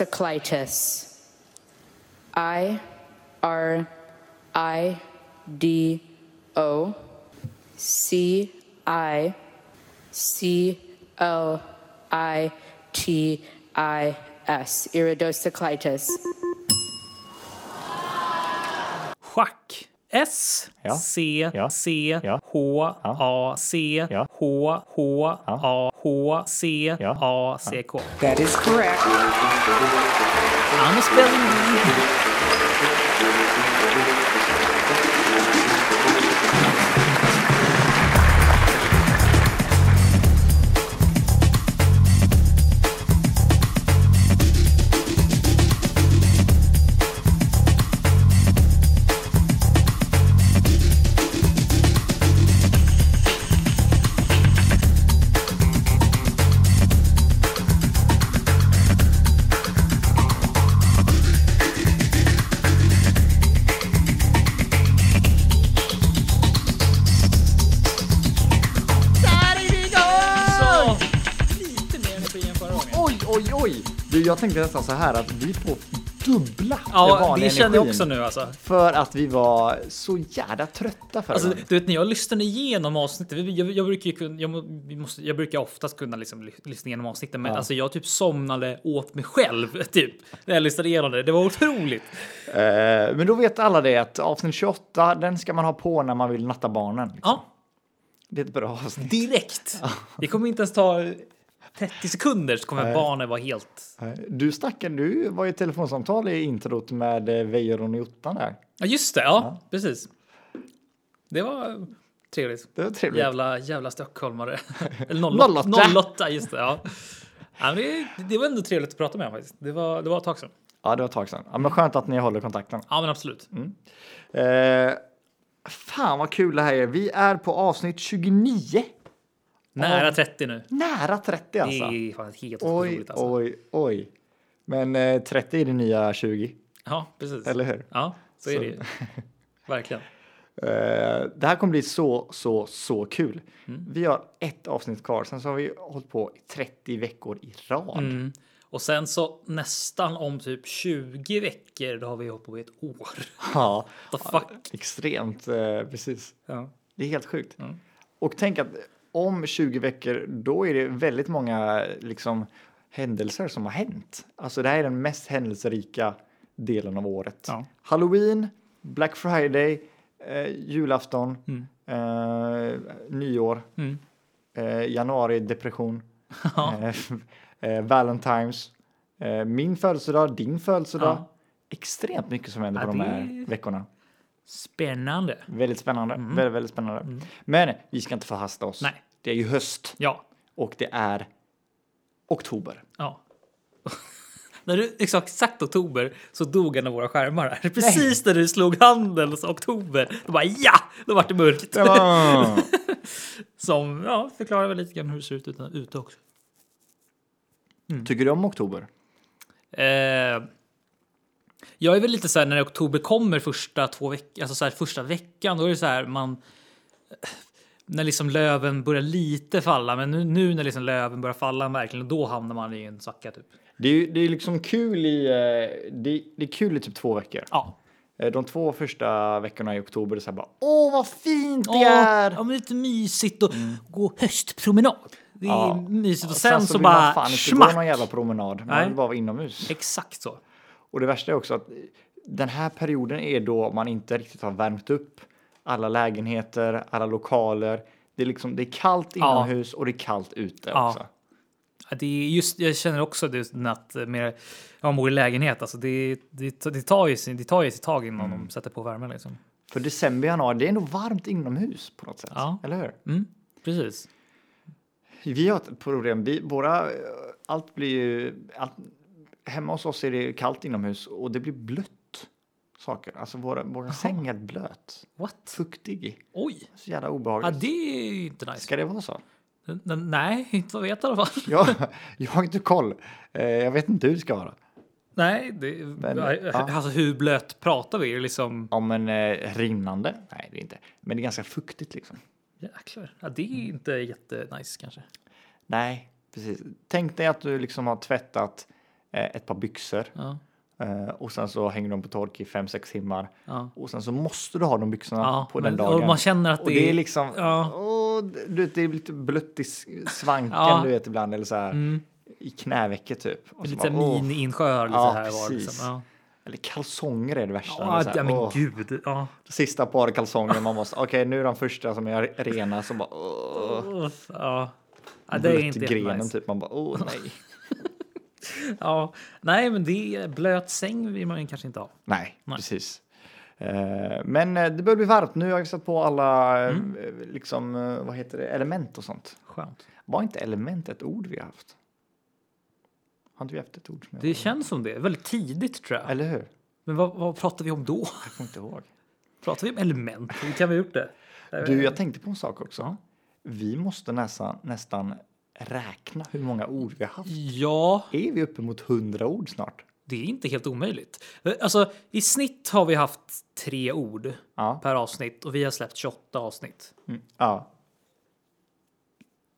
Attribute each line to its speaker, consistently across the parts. Speaker 1: iridocyclitis. I R I D O C I C L I T I S. Iridocyclitis.
Speaker 2: Schack. S,
Speaker 3: Ja.
Speaker 2: C,
Speaker 3: Ja.
Speaker 2: C,
Speaker 3: Ja.
Speaker 2: H, A, C,
Speaker 3: Ja.
Speaker 2: H, H, A, H, C,
Speaker 3: Ja.
Speaker 2: A, C, K.
Speaker 4: That is correct.
Speaker 2: I'm a spelling bee. Så! Lite mer energi än förra gången.
Speaker 3: Oj, oj, oj! Du, jag tänkte nästan så här att vi får dubbla den
Speaker 2: Ja,
Speaker 3: vanliga
Speaker 2: det känner jag
Speaker 3: energin.
Speaker 2: också nu alltså.
Speaker 3: För att vi var så jävla trötta förra
Speaker 2: Alltså,
Speaker 3: gången.
Speaker 2: du vet när jag lyssnade igenom avsnittet, vi- jag, jag, brukar, ju kun- jag, må- vi måste, jag brukar oftast kunna liksom ly- lyssna igenom avsnitten, men alltså, jag typ somnade åt mig själv typ när jag lyssnade igenom det. Det var otroligt.
Speaker 3: Eh, Men då vet alla det att avsnitt 28, den ska man ha på när man vill natta barnen. liksom.
Speaker 2: Ja,
Speaker 3: Det är ett bra avsnitt.
Speaker 2: direkt. Det kommer inte ens ta 30 sekunder så kommer barnen vara helt...
Speaker 3: Eh, Du snackade, du var i ett telefonsamtal i introt med eh, Veiron i ottan där.
Speaker 2: Ja, just det. Ja, precis. Det var trevligt.
Speaker 3: Det var trevligt.
Speaker 2: Jävla, jävla stockholmare. Eller
Speaker 3: 08.
Speaker 2: 08. 08, just det. Ja. Ja, men det, det var ändå trevligt att prata med honom faktiskt. Det var, det var ett tag sedan.
Speaker 3: Ja, det var ett tag sedan. Ja, men skönt att ni håller kontakten.
Speaker 2: Ja, men absolut.
Speaker 3: Mm. Eh, fan vad kul det här är. Vi är på avsnitt 29.
Speaker 2: Nära 30 nu.
Speaker 3: Nära 30
Speaker 2: Det
Speaker 3: alltså.
Speaker 2: är fan helt
Speaker 3: Oj,
Speaker 2: otroligt alltså.
Speaker 3: oj, oj. Men eh, 30 är det nya 20,
Speaker 2: Ja, precis.
Speaker 3: eller hur?
Speaker 2: Ja, så är
Speaker 3: Så-
Speaker 2: det ju. Verkligen.
Speaker 3: Eh, det här kommer bli så, så, så kul.
Speaker 2: Mm.
Speaker 3: Vi har ett avsnitt kvar, sen så har vi hållit på i 30 veckor i rad.
Speaker 2: Mm. Och sen så nästan om typ 20 veckor, då har vi hållit på i ett år.
Speaker 3: Ja,
Speaker 2: The fuck?
Speaker 3: extremt, eh, precis.
Speaker 2: Ja.
Speaker 3: Det är helt sjukt.
Speaker 2: Mm.
Speaker 3: Och tänk att om 20 veckor, då är det väldigt många liksom, händelser som har hänt. Alltså det här är den mest händelserika delen av året.
Speaker 2: Ja.
Speaker 3: Halloween, Black Friday, eh, julafton, eh, nyår,
Speaker 2: Mm.
Speaker 3: eh, januari, depression, eh, eh, Valentine's, eh, min födelsedag, din födelsedag.
Speaker 2: Ja.
Speaker 3: Extremt mycket som händer
Speaker 2: Ja,
Speaker 3: på de
Speaker 2: det-
Speaker 3: här veckorna.
Speaker 2: Spännande.
Speaker 3: Väldigt spännande. Väldigt, väldigt spännande. Men vi ska inte förhasta oss.
Speaker 2: Mm. Nej.
Speaker 3: Det är ju höst
Speaker 2: Ja,
Speaker 3: och det är oktober.
Speaker 2: ja. När du sa exakt oktober så dog en av våra skärmar. här. Precis när du slog handen och sa oktober. Då bara ja, då vart det mörkt. Som ja, förklarar väl lite grann hur det ser ut ute- ute också. Mm.
Speaker 3: Tycker du om oktober?
Speaker 2: Eh, jag är väl lite så här när oktober kommer första två veck- alltså så här, första veckan, då är det så här man. eh, När liksom löven börjar lite falla, men nu, nu när liksom löven börjar falla verkligen, då hamnar man i en svacka typ.
Speaker 3: Det är, ju- det är liksom kul i, eh, det, det är kul i typ två veckor.
Speaker 2: Ja,
Speaker 3: Eh, De två första veckorna i oktober är så här bara åh vad fint det
Speaker 2: Ja,
Speaker 3: är! Mm.
Speaker 2: Ja, men lite mysigt och gå höstpromenad. Det är
Speaker 3: Ja.
Speaker 2: mysigt och sen, så
Speaker 3: Alltså, vill man
Speaker 2: bara
Speaker 3: fan inte gå någon
Speaker 2: smack.
Speaker 3: jävla promenad. Man
Speaker 2: Nej.
Speaker 3: vill bara vara inomhus.
Speaker 2: Exakt så.
Speaker 3: Och det värsta är också att den här perioden är då man inte riktigt har värmt upp alla lägenheter, alla lokaler. Det är liksom det är kallt
Speaker 2: Ja.
Speaker 3: inomhus och det är kallt ute
Speaker 2: Ja.
Speaker 3: också.
Speaker 2: Ja, Det är just, jag känner också det när att eh, mer, man bor i lägenhet. Alltså det, det, det tar ju sin- det tar ju sitt tag innan
Speaker 3: Mm.
Speaker 2: de sätter på värmen. Liksom.
Speaker 3: För december, januari, det är nog varmt inomhus på något sätt.
Speaker 2: Ja.
Speaker 3: Eller hur?
Speaker 2: Mm, precis.
Speaker 3: Vi har ett problem. Vi, våra, eh, allt blir ju... Allt, hemma hos oss är det kallt inomhus och det blir blött saker. Alltså våra, våra säng är blöt,
Speaker 2: What?
Speaker 3: fuktig.
Speaker 2: Oj!
Speaker 3: Så jävla
Speaker 2: Ja,
Speaker 3: obehagligt.
Speaker 2: det är ju inte nice.
Speaker 3: Ska det vara så?
Speaker 2: N- n- Nej, inte vad jag vet i alla fall.
Speaker 3: Jag, jag har inte koll. Eh, Jag vet inte hur det ska vara.
Speaker 2: Nej, det,
Speaker 3: ja.
Speaker 2: alltså hur blöt pratar vi? Är det Liksom,
Speaker 3: Ja, men eh, rinnande? Nej, det är inte. Men det är ganska fuktigt liksom.
Speaker 2: jäklar. Ja, det
Speaker 3: Mm.
Speaker 2: är inte jättenice kanske.
Speaker 3: Nej, precis. Tänk dig att du liksom har tvättat eh, ett par byxor
Speaker 2: Ja,
Speaker 3: eh, och sen så hänger de på tork i 5-6 timmar
Speaker 2: ja.
Speaker 3: och sen så måste du ha de byxorna
Speaker 2: Ja,
Speaker 3: på
Speaker 2: men-
Speaker 3: den
Speaker 2: och
Speaker 3: dagen.
Speaker 2: man känner att
Speaker 3: och
Speaker 2: det
Speaker 3: det
Speaker 2: är-
Speaker 3: är liksom,
Speaker 2: ja.
Speaker 3: åh, du vet, det är lite blött i s- svanken
Speaker 2: Ja. Mm.
Speaker 3: du vet ibland eller så här i knävecket typ. Och så
Speaker 2: Lite
Speaker 3: bara, åh.
Speaker 2: mini-inskör. Lite
Speaker 3: Ja,
Speaker 2: här var, liksom.
Speaker 3: precis.
Speaker 2: ja.
Speaker 3: Eller kalsonger är det värsta.
Speaker 2: Ja,
Speaker 3: det är så
Speaker 2: ja,
Speaker 3: här,
Speaker 2: men
Speaker 3: åh.
Speaker 2: gud. Ja.
Speaker 3: Sista par kalsonger man måste, okej nu är de första som är rena som bara åh,
Speaker 2: Uff, ja. ja det är
Speaker 3: blött i
Speaker 2: inte
Speaker 3: grenen
Speaker 2: nice.
Speaker 3: typ. Man bara åh nej. typ.
Speaker 2: Ja. Nej, men det är blöt säng vill man ju kanske inte ha.
Speaker 3: Nej,
Speaker 2: Nej.
Speaker 3: precis. Eh, Men eh, det börjar bli varmt nu. har Jag satt på alla eh,
Speaker 2: Mm.
Speaker 3: liksom, eh, vad heter det, element och sånt.
Speaker 2: Skönt.
Speaker 3: Var inte element ett ord vi har haft? Har inte vi haft ett ord? Som jag-
Speaker 2: Det känns som det. Väldigt tidigt tror jag.
Speaker 3: Eller hur?
Speaker 2: Men vad, vad pratar vi om då?
Speaker 3: Jag kommer inte ihåg.
Speaker 2: Pratar vi om element? Hur kan vi ha gjort det?
Speaker 3: Du, jag tänkte på en sak också. Vi måste nästan, nästan räkna hur många ord vi har haft.
Speaker 2: Ja,
Speaker 3: Är vi uppemot hundra ord snart?
Speaker 2: det är inte helt omöjligt. Alltså, i snitt har vi haft tre ord
Speaker 3: Ja.
Speaker 2: per avsnitt och vi har släppt 28 avsnitt.
Speaker 3: Mm. ja.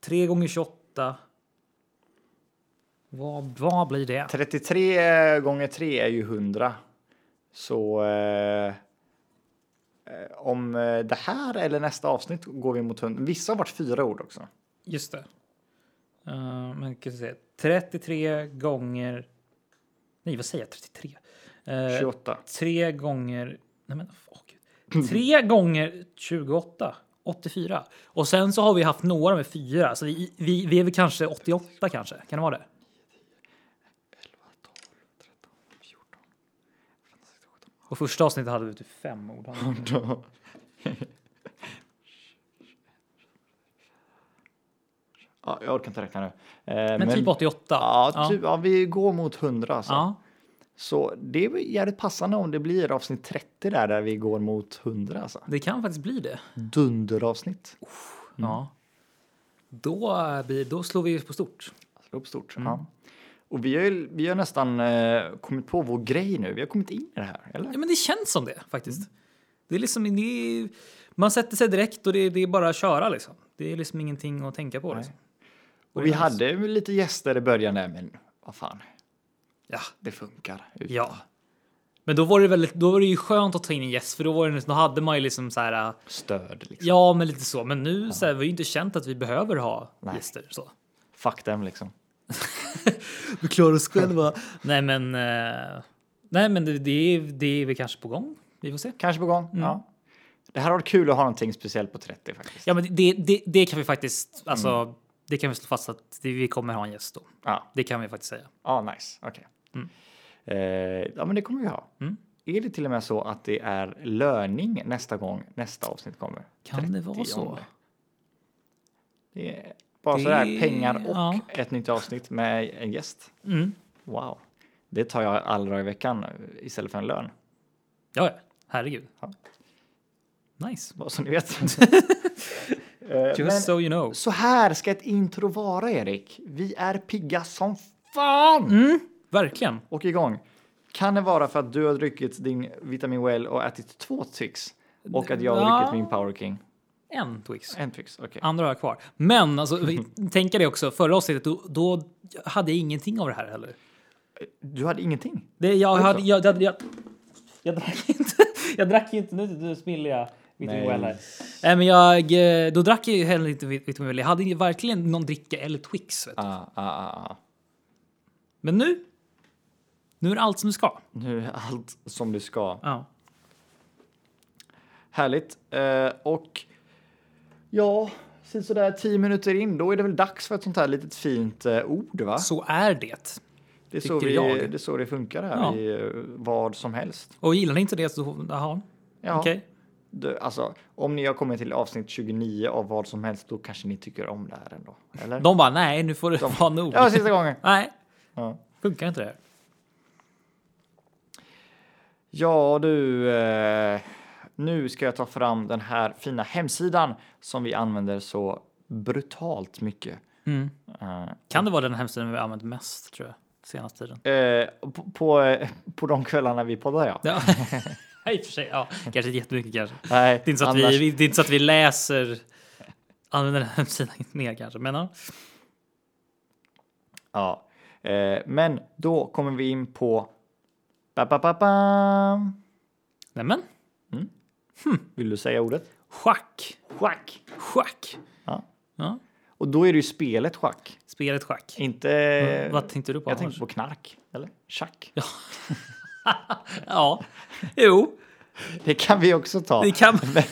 Speaker 2: Tre gånger 28. Vad, vad blir det?
Speaker 3: 33 gånger 3 är ju 100. Så eh, eh, om eh, det här eller nästa avsnitt går vi mot 100. Vissa har varit fyra ord också.
Speaker 2: Just det. Eh, men kan jag säga 33 gånger. Nej, vad säger jag? 33? Eh,
Speaker 3: 28.
Speaker 2: 3 gånger. Nej, men åh,
Speaker 3: Mm.
Speaker 2: gud. 3 gånger 28. 84. Och sen så har vi haft några med fyra, så vi, vi, vi är väl kanske 88 kanske. Kan det vara det?
Speaker 3: 11, 12, 13,
Speaker 2: Och första avsnittet hade vi typ fem ord.
Speaker 3: 14. 18. Ja, jag orkar inte räkna nu. Eh,
Speaker 2: Men, typ 88.
Speaker 3: Ja, typ, ja, vi går mot 100 alltså.
Speaker 2: Ja.
Speaker 3: Så det är väl jävligt passande om det blir avsnitt 30 där, där vi går mot 100 alltså.
Speaker 2: det kan faktiskt bli det.
Speaker 3: Dunderavsnitt.
Speaker 2: Ja. Då, eh, blir- då slår vi ju på stort.
Speaker 3: Slå upp Alltså, stort.
Speaker 2: Mm.
Speaker 3: Ja. Och vi har, ju, vi har nästan eh, kommit på vår grej nu. Vi har kommit in i det här, eller?
Speaker 2: Ja, men det känns som det faktiskt. Det är liksom, det är, man sätter sig direkt och det, det är bara att köra liksom. Det är liksom ingenting att tänka på. Liksom.
Speaker 3: Och vi hade ju lite gäster i början där, men vad fan,
Speaker 2: Ja.
Speaker 3: det funkar.
Speaker 2: ja. Men då var det väldigt, då var det ju skönt att ta in en gäst för då var det, då hade man ju liksom så här. äh,
Speaker 3: Stöd, liksom.
Speaker 2: Ja, men lite så. Men nu så här, vi har ju inte känt att vi behöver ha
Speaker 3: Nej.
Speaker 2: gäster så.
Speaker 3: Fuck them, liksom.
Speaker 2: Vi klarar oss själva. nej, men. eh, nej, men det, det, är, det är vi kanske på gång. Vi får se.
Speaker 3: Kanske på
Speaker 2: Mm.
Speaker 3: gång. Ja. Det här har varit kul att ha någonting speciellt på 30 faktiskt.
Speaker 2: Ja, men det, det, det kan vi faktiskt. Alltså, det kan vi slå fast att det, vi kommer ha en gäst då.
Speaker 3: Ja,
Speaker 2: Det kan vi faktiskt säga.
Speaker 3: ja nice. Okej.
Speaker 2: Mm.
Speaker 3: Eh, ja, men det kommer vi ha. Är det till och med så att det är löning nästa gång nästa avsnitt kommer?
Speaker 2: Kan det vara
Speaker 3: 30?
Speaker 2: så?
Speaker 3: Det är bara
Speaker 2: Det-
Speaker 3: sådär pengar och
Speaker 2: ja.
Speaker 3: ett nytt avsnitt med en gäst.
Speaker 2: Mm.
Speaker 3: Wow. Det tar jag alla dagar i veckan istället för en lön.
Speaker 2: Ja, ja. herregud.
Speaker 3: Ja.
Speaker 2: Nice.
Speaker 3: Bara så ni vet. Eh,
Speaker 2: Just
Speaker 3: men
Speaker 2: so you know.
Speaker 3: så här ska ett intro vara, Erik. Vi är pigga som fan!
Speaker 2: Mm. Verkligen.
Speaker 3: Och igång. Kan det vara för att du har druckit din Vitamin Well och ätit två Twix? Och att jag har
Speaker 2: Ja.
Speaker 3: druckit min Power King?
Speaker 2: En Twix.
Speaker 3: En Twix, okej.
Speaker 2: Andra har jag kvar. Men alltså, vi- tänker det också. Förra avsnittet, då, då hade jag ingenting av det här heller.
Speaker 3: Du hade ingenting?
Speaker 2: Det, jag,
Speaker 3: det
Speaker 2: hade,
Speaker 3: så?
Speaker 2: jag, jag, jag, jag drack inte. Jag drack ju inte. Nu, nu spiller jag Vitamin
Speaker 3: Nej.
Speaker 2: Well här. Nej, men jag, eh, då drack jag ju heller inte vit- Vitamin Well. Jag hade ju verkligen någon dricka eller Twix. Vet du.
Speaker 3: Ah, ah, ah, ah.
Speaker 2: Men nu, nu är det allt som det ska.
Speaker 3: Nu är allt som det ska.
Speaker 2: Ja.
Speaker 3: Härligt. Eh, och ja, sådär tio minuter in, då är det väl dags för ett sånt här litet fint eh, ord, va?
Speaker 2: Så är det.
Speaker 3: det, är så
Speaker 2: tycker
Speaker 3: vi,
Speaker 2: jag.
Speaker 3: det är så det funkar här
Speaker 2: Ja.
Speaker 3: i eh, vad som helst.
Speaker 2: Och gillar ni inte det så, jaha.
Speaker 3: Ja,
Speaker 2: Okej.
Speaker 3: du, alltså, om ni har kommit till avsnitt 29 av vad som helst, då kanske ni tycker om det här ändå. Eller?
Speaker 2: De bara nej, nu får det vara nog.
Speaker 3: Ja, sista gången.
Speaker 2: Nej,
Speaker 3: Ja,
Speaker 2: funkar inte det. här.
Speaker 3: ja du. Eh, nu ska jag ta fram den här fina hemsidan som vi använder så brutalt mycket.
Speaker 2: Mm.
Speaker 3: Eh,
Speaker 2: Kan det vara den hemsidan vi har använt mest tror jag senaste tiden?
Speaker 3: Eh, på, på, eh, på de kvällarna vi poddar, ja.
Speaker 2: Ja. I och för sig, ja, kanske inte jättemycket kanske.
Speaker 3: Nej,
Speaker 2: Det är inte så att,
Speaker 3: annars-
Speaker 2: vi, vi- det är inte så att vi läser, använder den hemsidan mer kanske. Men ja.
Speaker 3: Ja. Eh, men då kommer vi in på... Ba, ba, ba, ba.
Speaker 2: Nämen,
Speaker 3: Vill du säga ordet?
Speaker 2: schack.
Speaker 3: Schack!
Speaker 2: Schack.
Speaker 3: Ja.
Speaker 2: Ja.
Speaker 3: Och då är det ju spelet schack.
Speaker 2: Spelet schack.
Speaker 3: Inte...
Speaker 2: Vad tänkte du på?
Speaker 3: Eh,
Speaker 2: annars?
Speaker 3: jag tänkte på knark. Eller? Schack.
Speaker 2: Ja, jo,
Speaker 3: Det kan vi också ta.
Speaker 2: det kan man.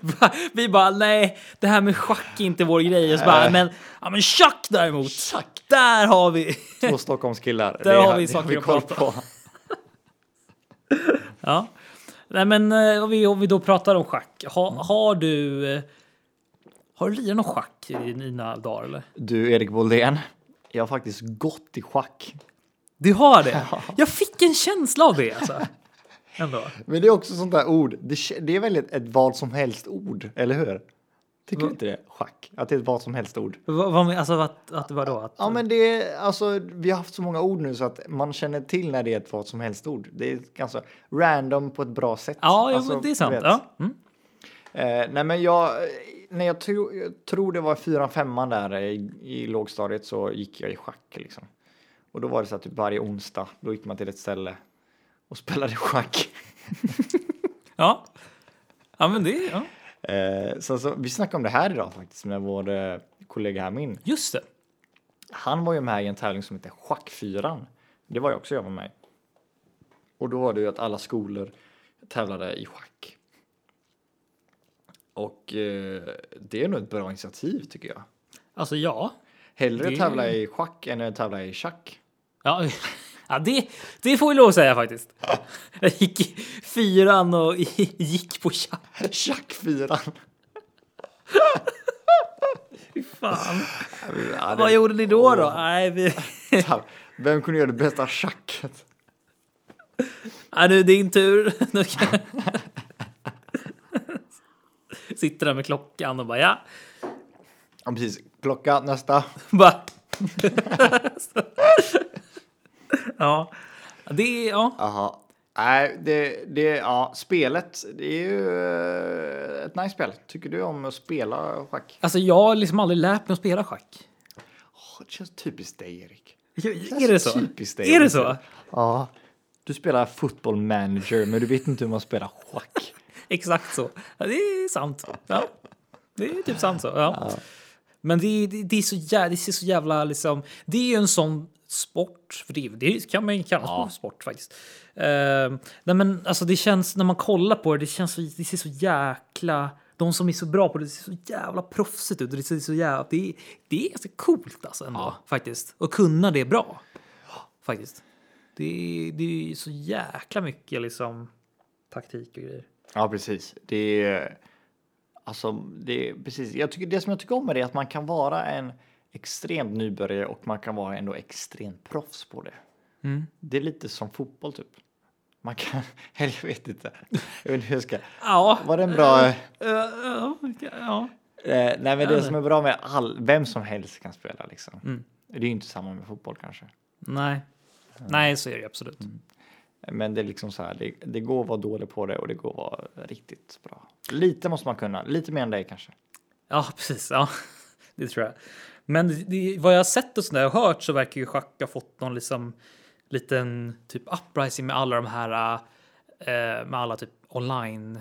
Speaker 2: Va? Vi bara, nej, det här med schack är inte vår grej. Och så bara,
Speaker 3: Äh.
Speaker 2: men, ja, men schack däremot. Där har vi.
Speaker 3: Två Stockholmskillar.
Speaker 2: Där
Speaker 3: Det
Speaker 2: har vi
Speaker 3: det
Speaker 2: saker att
Speaker 3: koll
Speaker 2: prata
Speaker 3: på.
Speaker 2: Ja. Nej, men eh, om vi, om vi då pratar om schack. Ha, Har du... eh, Har du lirat någon schack i dina dagar eller?
Speaker 3: Du, Erik Boldén. Jag har faktiskt gått i schack.
Speaker 2: Du har det? Jag fick en känsla av det alltså. Ändå.
Speaker 3: Men det är också sånt där ord. Det, k- det är väl ett, ett vad som helst-ord, eller hur? Tycker du inte det? Mm. Schack. Att det är ett vad som helst-ord.
Speaker 2: Vad, vad, men- alltså att, att vadå? Att,
Speaker 3: Ja, men det är alltså. Vi har haft så många ord nu så att man känner till när det är ett vad som helst-ord. Det är ganska random på ett bra sätt.
Speaker 2: ja jo,
Speaker 3: Alltså,
Speaker 2: men det är
Speaker 3: du
Speaker 2: sant.
Speaker 3: vet.
Speaker 2: Ja. Mm.
Speaker 3: Eh, nej, men jag, eh, när jag, tro, jag tror det var fyran, femman där eh, i, i lågstadiet så gick jag i schack liksom. Och då var det så att typ varje onsdag, då gick man till ett ställe och spelade schack.
Speaker 2: Ja. ja, men det ja.
Speaker 3: Eh, så, så, vi snackade om det här idag faktiskt med vår eh, kollega Hamin.
Speaker 2: Just det.
Speaker 3: Han var ju med i en tävling som heter Schackfyran. Det var jag också jag var med i. Och då var det ju att alla skolor tävlade i schack. Och eh, det är nog ett bra initiativ tycker jag.
Speaker 2: Alltså ja.
Speaker 3: Hellre
Speaker 2: Det-
Speaker 3: tävla i schack än att tävla i schack.
Speaker 2: Ja, ja det, det får vi lov att säga faktiskt. Jag gick i fyran och gick på schack.
Speaker 3: Schackfyran!
Speaker 2: Fan.
Speaker 3: Ja,
Speaker 2: Vad
Speaker 3: det,
Speaker 2: gjorde ni då då? Nej, vi...
Speaker 3: Fan, vem kunde göra det bästa schacket?
Speaker 2: Ja, nu är det din tur. Nu kan... Sitter där med klockan och bara ja.
Speaker 3: Ja, precis. Klocka, nästa.
Speaker 2: Bara... ja. Det är, ja.
Speaker 3: Jaha. Nej, det, det, ja, spelet, det är ju eh, ett nice spel. Tycker du om att spela schack?
Speaker 2: Alltså jag har liksom aldrig lärt mig att spela schack.
Speaker 3: Åh, det känns typiskt dig, Erik.
Speaker 2: Är det så?
Speaker 3: Typiskt dig.
Speaker 2: Är det så?
Speaker 3: Ja. Du spelar football manager, men du vet inte hur man spelar schack.
Speaker 2: Exakt så. Ja, det är sant. Ja. Det är typ sant så. Ja. Men det, det, det, är så jävla, det ser så jävla liksom. Det är ju en sån sport. För det, det kan man ju kalla
Speaker 3: Ja.
Speaker 2: för sport faktiskt. Ehm, nej men alltså det känns när man kollar på det. Det känns så, det ser så jäkla. De som är så bra på det, det ser så jävla proffsigt ut. och Det, ser så jävla, det, det är ganska coolt alltså ändå faktiskt. Att kunna det bra. Faktiskt. Det, det är så jäkla mycket liksom taktik och grejer.
Speaker 3: Ja, precis. Det är, alltså, det är, precis. Jag tycker, det som jag tycker om med det är att man kan vara en extremt nybörjare och man kan vara ändå extremt proffs på det. Det är lite som fotboll typ. Man kan, eller jag vet inte. Jag vet inte hur jag ska.
Speaker 2: Ja.
Speaker 3: Var det en bra? Eh,
Speaker 2: Ja, ja.
Speaker 3: nej, men det som är bra med all, vem som helst kan spela liksom. Det är ju inte samma med fotboll kanske.
Speaker 2: Nej. Nej, så är det ju absolut.
Speaker 3: Mm. Men det är liksom så här, det, det går att vara dålig på det och det går att vara riktigt bra. Lite måste man kunna, lite mer än dig kanske.
Speaker 2: Ja, precis. Ja. Det tror jag. Men det- det, vad jag har sett och sådär och hört så verkar ju schack ha fått någon liksom, liten typ uprising med alla de här eh, med alla typ online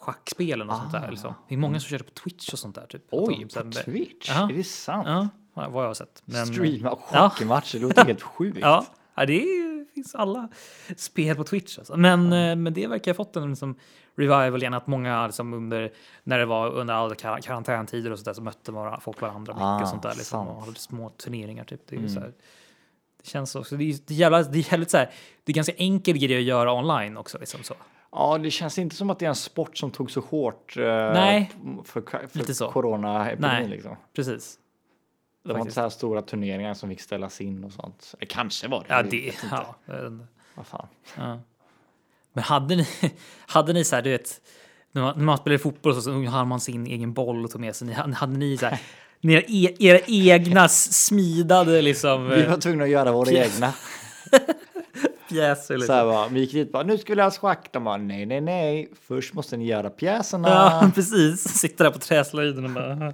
Speaker 2: schackspelen och sånt där. Liksom. Det är många som kör det på Twitch och sånt där. Typ. Att de
Speaker 3: Ah. Oj,
Speaker 2: sen-
Speaker 3: på Twitch?
Speaker 2: Ja.
Speaker 3: Är det sant?
Speaker 2: Ja, vad jag har sett. Men-
Speaker 3: Streama hockeymatcher, det låter helt sjukt.
Speaker 2: Ja, ja det är, finns alla spel på Twitch. Alltså. Men, eh, men det verkar ha fått en liksom, revival igen. Att många liksom, under, när det var under alla kar- karantäntider och sånt där så mötte var- folk varandra mycket
Speaker 3: Ah,
Speaker 2: och sånt där. Liksom,
Speaker 3: sant. Mm.
Speaker 2: och hade små turneringar typ. Det, är ju så här, det känns också, det är, det är jävla, det är jävligt så här, det är ganska enkel grej att göra online också. Liksom, så.
Speaker 3: Ja, det känns inte som att det är en sport som tog så hårt eh,
Speaker 2: Nej.
Speaker 3: för, ka-
Speaker 2: Lite
Speaker 3: för
Speaker 2: så.
Speaker 3: coronaepidemin.
Speaker 2: Nej.
Speaker 3: Liksom.
Speaker 2: Precis.
Speaker 3: Det var inte
Speaker 2: Faktiskt.
Speaker 3: så här stora turneringar som fick ställas in och sånt. Eh, Kanske var det.
Speaker 2: Ja,
Speaker 3: jag
Speaker 2: det,
Speaker 3: vet inte.
Speaker 2: ja, jag vet inte.
Speaker 3: Vad fan.
Speaker 2: Ja. Men hade ni, hade ni så här, du vet, när man, när man spelade fotboll så, så hade man sin egen boll och tog med sig. Ni, hade ni så här, era, e, era egna s- smidade liksom
Speaker 3: Vi
Speaker 2: eh,
Speaker 3: var tvungna att göra våra
Speaker 2: Yes.
Speaker 3: egna.
Speaker 2: pjäser?
Speaker 3: Så här
Speaker 2: Liksom.
Speaker 3: bara, vi gick dit bara, nu ska vi lära oss schack. De bara, nej, nej, nej. Först måste ni göra pjäserna.
Speaker 2: "Ah." Ja, precis. Sitta där på träslöjden och bara...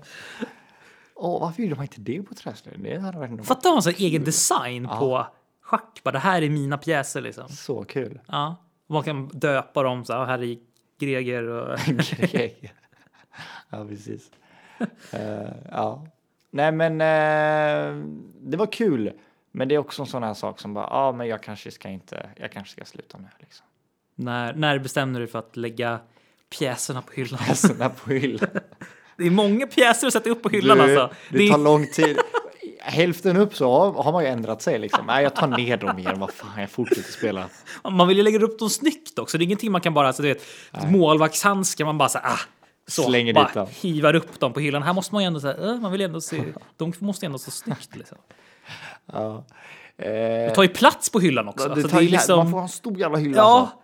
Speaker 3: Åh, varför gjorde man inte det på träslöjden? Det hade varit något
Speaker 2: Fattar man så här egen design på schack? Bara, det här är mina pjäser liksom.
Speaker 3: så kul.
Speaker 2: Ja. Och Man kan döpa dem så här, "Ah, här är Greger och... eh,
Speaker 3: Greger. ja, precis. Eh, ja. Nej, men eh, det var kul. Men det är också en sån här sak som bara, ja, ah, men jag kanske ska inte, jag kanske ska sluta nu liksom.
Speaker 2: När, när bestämde du för att lägga pjäserna på hyllan?
Speaker 3: Pjäserna Alltså, på hyllan.
Speaker 2: Det är många pjäser att sätta upp på hyllan alltså.
Speaker 3: Det,
Speaker 2: det är,
Speaker 3: tar lång tid. Hälften upp så har- har man ju ändrat sig liksom. Nej, jag tar ner dem igen. Vad fan, jag fortsätter spela.
Speaker 2: Man vill ju lägga upp dem snyggt också. Det är ingenting man kan bara, alltså, du vet, målvaktshandskar, man bara så här, ah, så,
Speaker 3: Slänger
Speaker 2: bara
Speaker 3: dit dem.
Speaker 2: hivar upp dem på hyllan. Här måste man ju ändå så här, eh, man vill ändå se, de måste ändå stå snyggt liksom.
Speaker 3: Ja. Eh,
Speaker 2: Det tar ju plats på hyllan också.
Speaker 3: det
Speaker 2: alltså,
Speaker 3: tar
Speaker 2: det är
Speaker 3: ju- Man
Speaker 2: liksom,
Speaker 3: får ha en stor jävla hylla.
Speaker 2: ja,
Speaker 3: Alltså.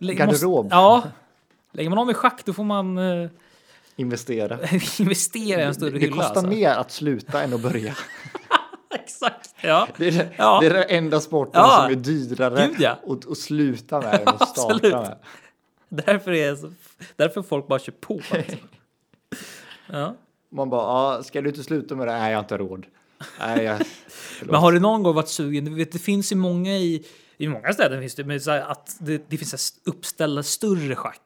Speaker 2: Lägg-
Speaker 3: Garderob.
Speaker 2: Måste, ja. Lägger man om i schack då får man eh,
Speaker 3: Investera.
Speaker 2: investera i en större
Speaker 3: Det,
Speaker 2: hylla.
Speaker 3: kostar
Speaker 2: alltså.
Speaker 3: mer att sluta än att börja.
Speaker 2: Exakt. Ja.
Speaker 3: Det är, det-
Speaker 2: Ja.
Speaker 3: det är den enda sporten
Speaker 2: Ja.
Speaker 3: som är dyrare
Speaker 2: Gud, ja.
Speaker 3: att, att sluta med än att
Speaker 2: Absolut.
Speaker 3: starta med.
Speaker 2: Därför, är, så- därför folk bara kör på. Alltså. Ja.
Speaker 3: Man bara, ah, ska du inte sluta med det? Nej, jag har inte råd. Nej, jag... Förlåt.
Speaker 2: Men har du någon gång varit sugen? Du vet, det finns ju många i, i många städer finns det, men så här, att det, det finns så här uppställda större schack.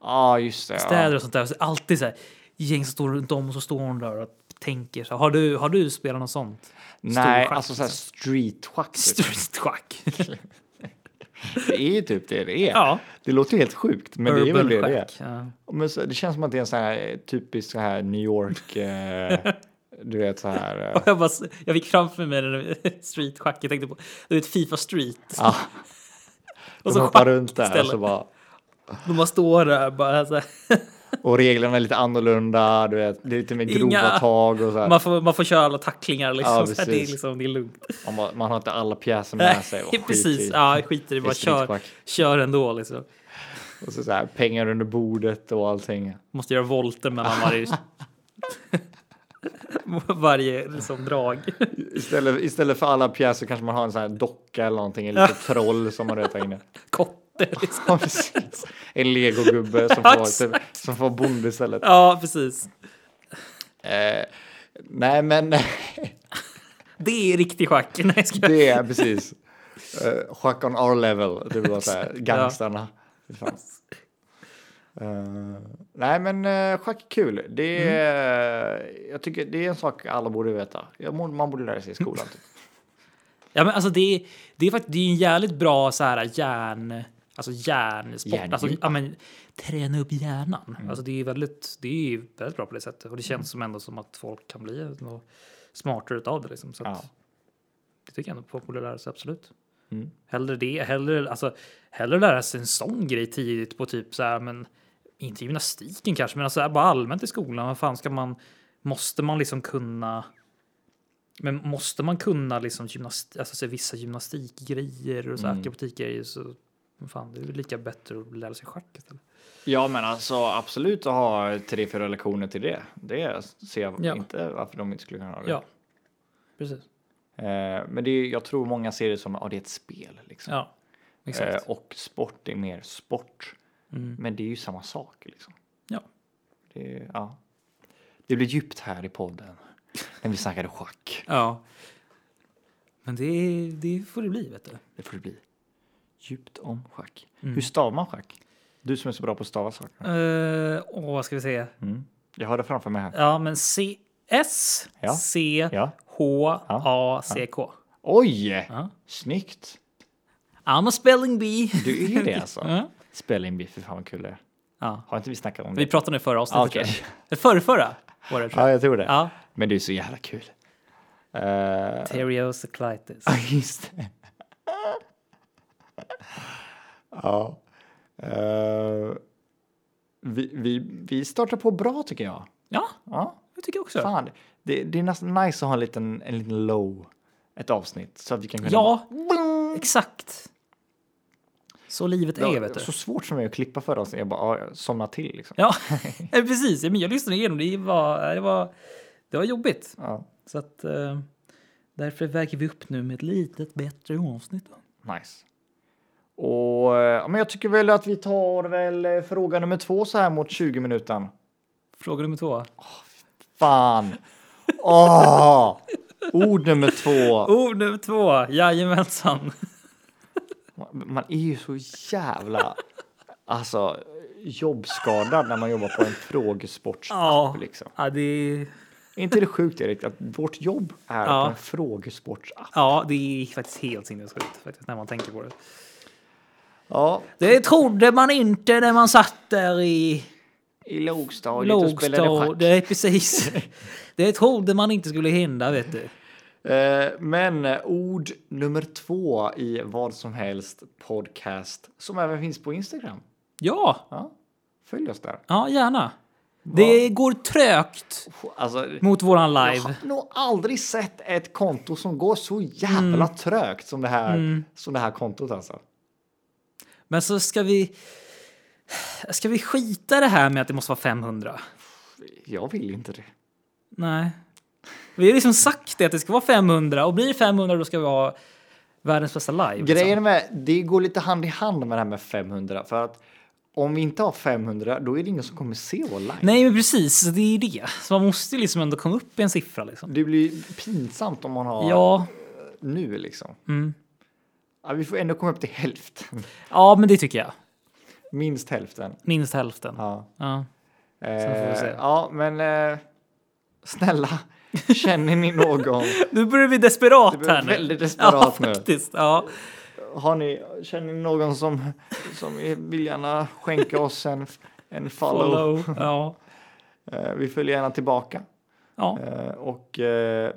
Speaker 3: ah, just det.
Speaker 2: Städer
Speaker 3: Ja.
Speaker 2: och sånt där. Så alltid så här, gäng som står runt om och så står hon där och tänker. Så, här. har, du, har du spelat något sånt?
Speaker 3: Nej,
Speaker 2: schack, liksom?
Speaker 3: alltså såhär streetschack. Typ.
Speaker 2: Streetschack.
Speaker 3: Det är ju typ det det är.
Speaker 2: Ja.
Speaker 3: Det låter helt sjukt, men det är väl
Speaker 2: Urban
Speaker 3: det det är.
Speaker 2: schack. Ja.
Speaker 3: Men så, det känns som att det är en sån här eh, typisk så här New York, eh, du vet så här. Eh,
Speaker 2: Jag, bara, jag fick framför mig den streetschack. Jag tänkte på du vet, Fifa Street.
Speaker 3: ja,
Speaker 2: Och
Speaker 3: de
Speaker 2: så
Speaker 3: hoppar
Speaker 2: schack
Speaker 3: runt där och,
Speaker 2: istället.
Speaker 3: så bara,
Speaker 2: De bara står där bara så här.
Speaker 3: och reglerna är lite annorlunda, du vet, det är lite mer grova
Speaker 2: Inga-
Speaker 3: tag och så här.
Speaker 2: Man får, man får köra alla tacklingar liksom.
Speaker 3: Ja,
Speaker 2: så här, det, är
Speaker 3: precis.
Speaker 2: liksom det är lugnt.
Speaker 3: Man, bara, man har inte alla pjäser med sig.
Speaker 2: Nej,
Speaker 3: Och
Speaker 2: precis.
Speaker 3: skit i.
Speaker 2: Ja, skit i det. Bara
Speaker 3: Det är
Speaker 2: kör,
Speaker 3: streetschack.
Speaker 2: kör ändå liksom.
Speaker 3: Och så, så här, pengar under bordet och allting.
Speaker 2: Måste göra volter mellan varje... varje liksom, drag.
Speaker 3: Istället, istället för alla pjäser kanske man har en sån här docka eller någonting, en liten troll som man tar in.
Speaker 2: Kotte liksom.
Speaker 3: Ja, precis. En legogubbe som
Speaker 2: Ja,
Speaker 3: får, typ, som får bonde istället.
Speaker 2: Ja, precis.
Speaker 3: Eh, nej, men
Speaker 2: Det är riktig schack. Nej, jag skojar.
Speaker 3: det är precis. Eh, Schack on our level, det var så här, gangstarna. Fy fan. Eh, nej, men eh, schack är kul. Det är, Jag tycker det är en sak alla borde veta. Jag borde- Man borde lära sig i skolan. Typ.
Speaker 2: Ja, men alltså det, är- det är faktiskt det är en jävligt bra så här järn, alltså järnsport.
Speaker 3: Järngympa.
Speaker 2: Alltså, ja, men, träna upp hjärnan.
Speaker 3: Mm.
Speaker 2: Alltså det är väldigt, det är ju väldigt bra på det sättet och det känns som ändå som att folk kan bli något smartare utav det liksom. Så att,
Speaker 3: Ja.
Speaker 2: Det tycker jag ändå folk borde lära sig absolut.
Speaker 3: Mm.
Speaker 2: Hellre det, hellre, alltså, hellre lära sig en sån grej tidigt på typ så här, men inte gymnastiken kanske, men alltså här, bara allmänt i skolan. Vad fan ska man, måste man liksom kunna? Men måste man kunna liksom gymnast, alltså, så här, vissa gymnastikgrejer och så här,
Speaker 3: Mm.
Speaker 2: akrobatikgrejer så men fan, det är väl lika bättre att lära sig schack istället.
Speaker 3: Ja, men alltså absolut att ha tre, fyra lektioner till det. Det ser jag
Speaker 2: Ja.
Speaker 3: inte varför de inte skulle kunna ha det.
Speaker 2: Ja, precis.
Speaker 3: Eh, men det är, jag tror många ser det som att ah, det är ett spel. Liksom.
Speaker 2: Ja, exakt.
Speaker 3: Eh, och sport är mer sport.
Speaker 2: Mm.
Speaker 3: Men det är ju samma sak. Liksom.
Speaker 2: Ja.
Speaker 3: Det, är- ja. det blir djupt här i podden när vi snackade schack.
Speaker 2: Ja. Men det, det får det bli, vet du.
Speaker 3: Det får det bli. Djupt om schack.
Speaker 2: Mm.
Speaker 3: Hur stavar man schack? Du som är så bra på att stava saker.
Speaker 2: Eh, Åh, vad ska vi säga?
Speaker 3: Mm. Jag har det framför mig här.
Speaker 2: Ja, men C S
Speaker 3: Ja.
Speaker 2: C
Speaker 3: Ja.
Speaker 2: H A C K.
Speaker 3: Oj!
Speaker 2: Ja.
Speaker 3: Snyggt!
Speaker 2: I'm a spelling bee.
Speaker 3: Du är det alltså.
Speaker 2: Ja.
Speaker 3: Spela in biff, för fan vad kul det är.
Speaker 2: Ja.
Speaker 3: Har inte vi snackat om
Speaker 2: Vi
Speaker 3: det?
Speaker 2: pratade nu i förra avsnittet.
Speaker 3: Ah, okej.
Speaker 2: tror jag. Förra, förra året tror
Speaker 3: Ja,
Speaker 2: jag.
Speaker 3: jag tror det.
Speaker 2: Ja.
Speaker 3: Men det är så jävla kul. Eh,
Speaker 2: Teriosoclitis.
Speaker 3: Ja, just det. ja. Eh, vi, vi, vi startar på bra tycker jag.
Speaker 2: Ja,
Speaker 3: Ja,
Speaker 2: jag tycker också.
Speaker 3: fan. Det, det är nästan nice att ha en liten, en liten low, ett avsnitt. Så att vi kan kunna...
Speaker 2: Ja,
Speaker 3: Bling!
Speaker 2: exakt. Så livet
Speaker 3: Det
Speaker 2: är,
Speaker 3: var
Speaker 2: vet du.
Speaker 3: så svårt som det är att klippa förra avsnittet. Jag bara ja, jag somnar till liksom.
Speaker 2: Ja, ja, precis. Ja, Men jag lyssnade igenom det. Var, det, var, det var jobbigt.
Speaker 3: Ja,
Speaker 2: Så att eh, därför väger vi upp nu med ett litet bättre avsnitt. Då.
Speaker 3: nice. Och eh, ja, men jag tycker väl att vi tar väl eh, fråga nummer två så här mot 20 minuten.
Speaker 2: Fråga nummer två.
Speaker 3: Fan! Åh! Ord nummer två.
Speaker 2: Ord Oh, nummer två, jajamensan.
Speaker 3: Man är ju så jävla alltså, jobbskadad när man jobbar på en frågesportsapp.
Speaker 2: Ja.
Speaker 3: Liksom.
Speaker 2: Ja, det är,
Speaker 3: Är inte det sjukt, Erik, att vårt jobb är
Speaker 2: Ja.
Speaker 3: på en frågesportsapp?
Speaker 2: ja, det är faktiskt helt sinnessjukt faktiskt, när man tänker på det.
Speaker 3: Ja,
Speaker 2: Det trodde man inte när man satt där i
Speaker 3: i lågstadiet och spelade
Speaker 2: lågstadiet.
Speaker 3: schack.
Speaker 2: Det är precis. Det trodde man inte skulle hända, vet du.
Speaker 3: Eh, Men eh, ord nummer två i vad som helst podcast som även finns på Instagram.
Speaker 2: Ja,
Speaker 3: Ja, följ oss där.
Speaker 2: ja gärna. Det går trögt
Speaker 3: Alltså,
Speaker 2: mot våran
Speaker 3: jag
Speaker 2: live.
Speaker 3: har nog aldrig sett ett konto som går så jävla
Speaker 2: Mm.
Speaker 3: trögt som det, här, som det här kontot alltså.
Speaker 2: Men så ska vi... Ska vi skita i det här med att det måste vara 500?
Speaker 3: Jag vill inte det.
Speaker 2: Nej. Vi har liksom sagt det att det ska vara 500 och blir det 500 då ska vi ha världens bästa live. liksom.
Speaker 3: Grejen med det går lite hand i hand med det här med 500 för att om vi inte har 500 då är det ingen som kommer se vår live.
Speaker 2: Nej, men precis. Det är ju det. Så man måste ju liksom ändå komma upp i en siffra liksom.
Speaker 3: Det blir pinsamt om man har
Speaker 2: Ja, Mm.
Speaker 3: nu liksom. Ja, vi får ändå komma upp till hälften.
Speaker 2: ja, men det tycker jag.
Speaker 3: Minst hälften.
Speaker 2: Minst hälften.
Speaker 3: Ja,
Speaker 2: Ja. får vi
Speaker 3: eh,
Speaker 2: se.
Speaker 3: ja men eh, snälla, känner ni någon?
Speaker 2: Nu börjar vi desperat
Speaker 3: Du börjar
Speaker 2: här nu.
Speaker 3: väldigt desperat
Speaker 2: ja,
Speaker 3: nu.
Speaker 2: Faktiskt, ja.
Speaker 3: Har ni, känner ni någon som, som vill gärna skänka oss en, en follow?
Speaker 2: Follow. Ja.
Speaker 3: Eh, vi följer gärna tillbaka.
Speaker 2: Ja.
Speaker 3: Eh, och eh,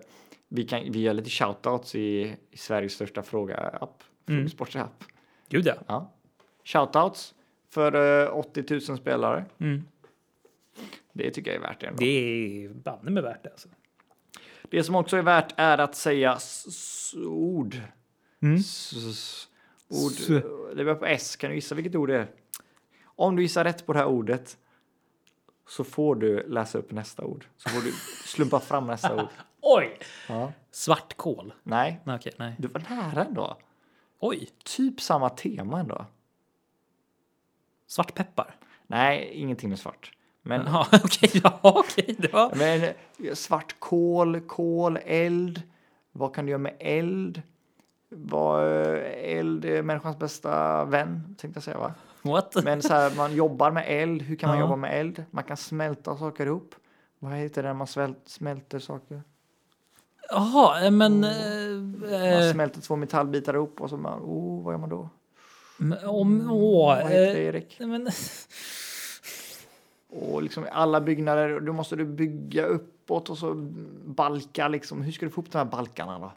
Speaker 3: vi, kan, vi gör lite shoutouts i, i Sveriges största fråga-app.
Speaker 2: Mm.
Speaker 3: Sportsapp.
Speaker 2: Gud ja.
Speaker 3: Ja. Shoutouts för eh, 80 000 spelare.
Speaker 2: Mm.
Speaker 3: Det tycker jag är värt det. Ändå.
Speaker 2: Det är banne mig värt det alltså.
Speaker 3: Det som också är värt är att säga s- s- ord.
Speaker 2: Mm.
Speaker 3: S- s- ord.
Speaker 2: S-
Speaker 3: Det börjar på S. Kan du gissa vilket ord det är? Om du gissar rätt på det här ordet så får du läsa upp nästa ord. Så får du slumpa fram nästa ord.
Speaker 2: Oj!
Speaker 3: Ja.
Speaker 2: Svartkål.
Speaker 3: Nej,
Speaker 2: Nej, okej, nej.
Speaker 3: du var nära ändå.
Speaker 2: Oj!
Speaker 3: Typ samma tema ändå.
Speaker 2: Svartpeppar.
Speaker 3: Nej, ingenting med svart. Men,
Speaker 2: Ja, okej, ja, okej. Det var...
Speaker 3: men eh, svart kol, kol, eld. Vad kan du göra med eld? Vad, eh, eld är människans bästa vän, tänkte jag säga va?
Speaker 2: What?
Speaker 3: Men så här, man jobbar med eld. Hur kan man
Speaker 2: Ja.
Speaker 3: jobba med eld? Man kan smälta saker ihop. Vad heter det när man svält, smälter saker?
Speaker 2: Jaha, eh, men... eh,
Speaker 3: Man
Speaker 2: eh,
Speaker 3: smälter två metallbitar ihop och så man, oh, vad gör man då?
Speaker 2: men om... Åh,
Speaker 3: Mm, Vad heter det
Speaker 2: eh,
Speaker 3: Erik?
Speaker 2: men,
Speaker 3: Och liksom alla byggnader, då måste du bygga uppåt och så balka liksom. Hur ska du få upp de här balkarna då?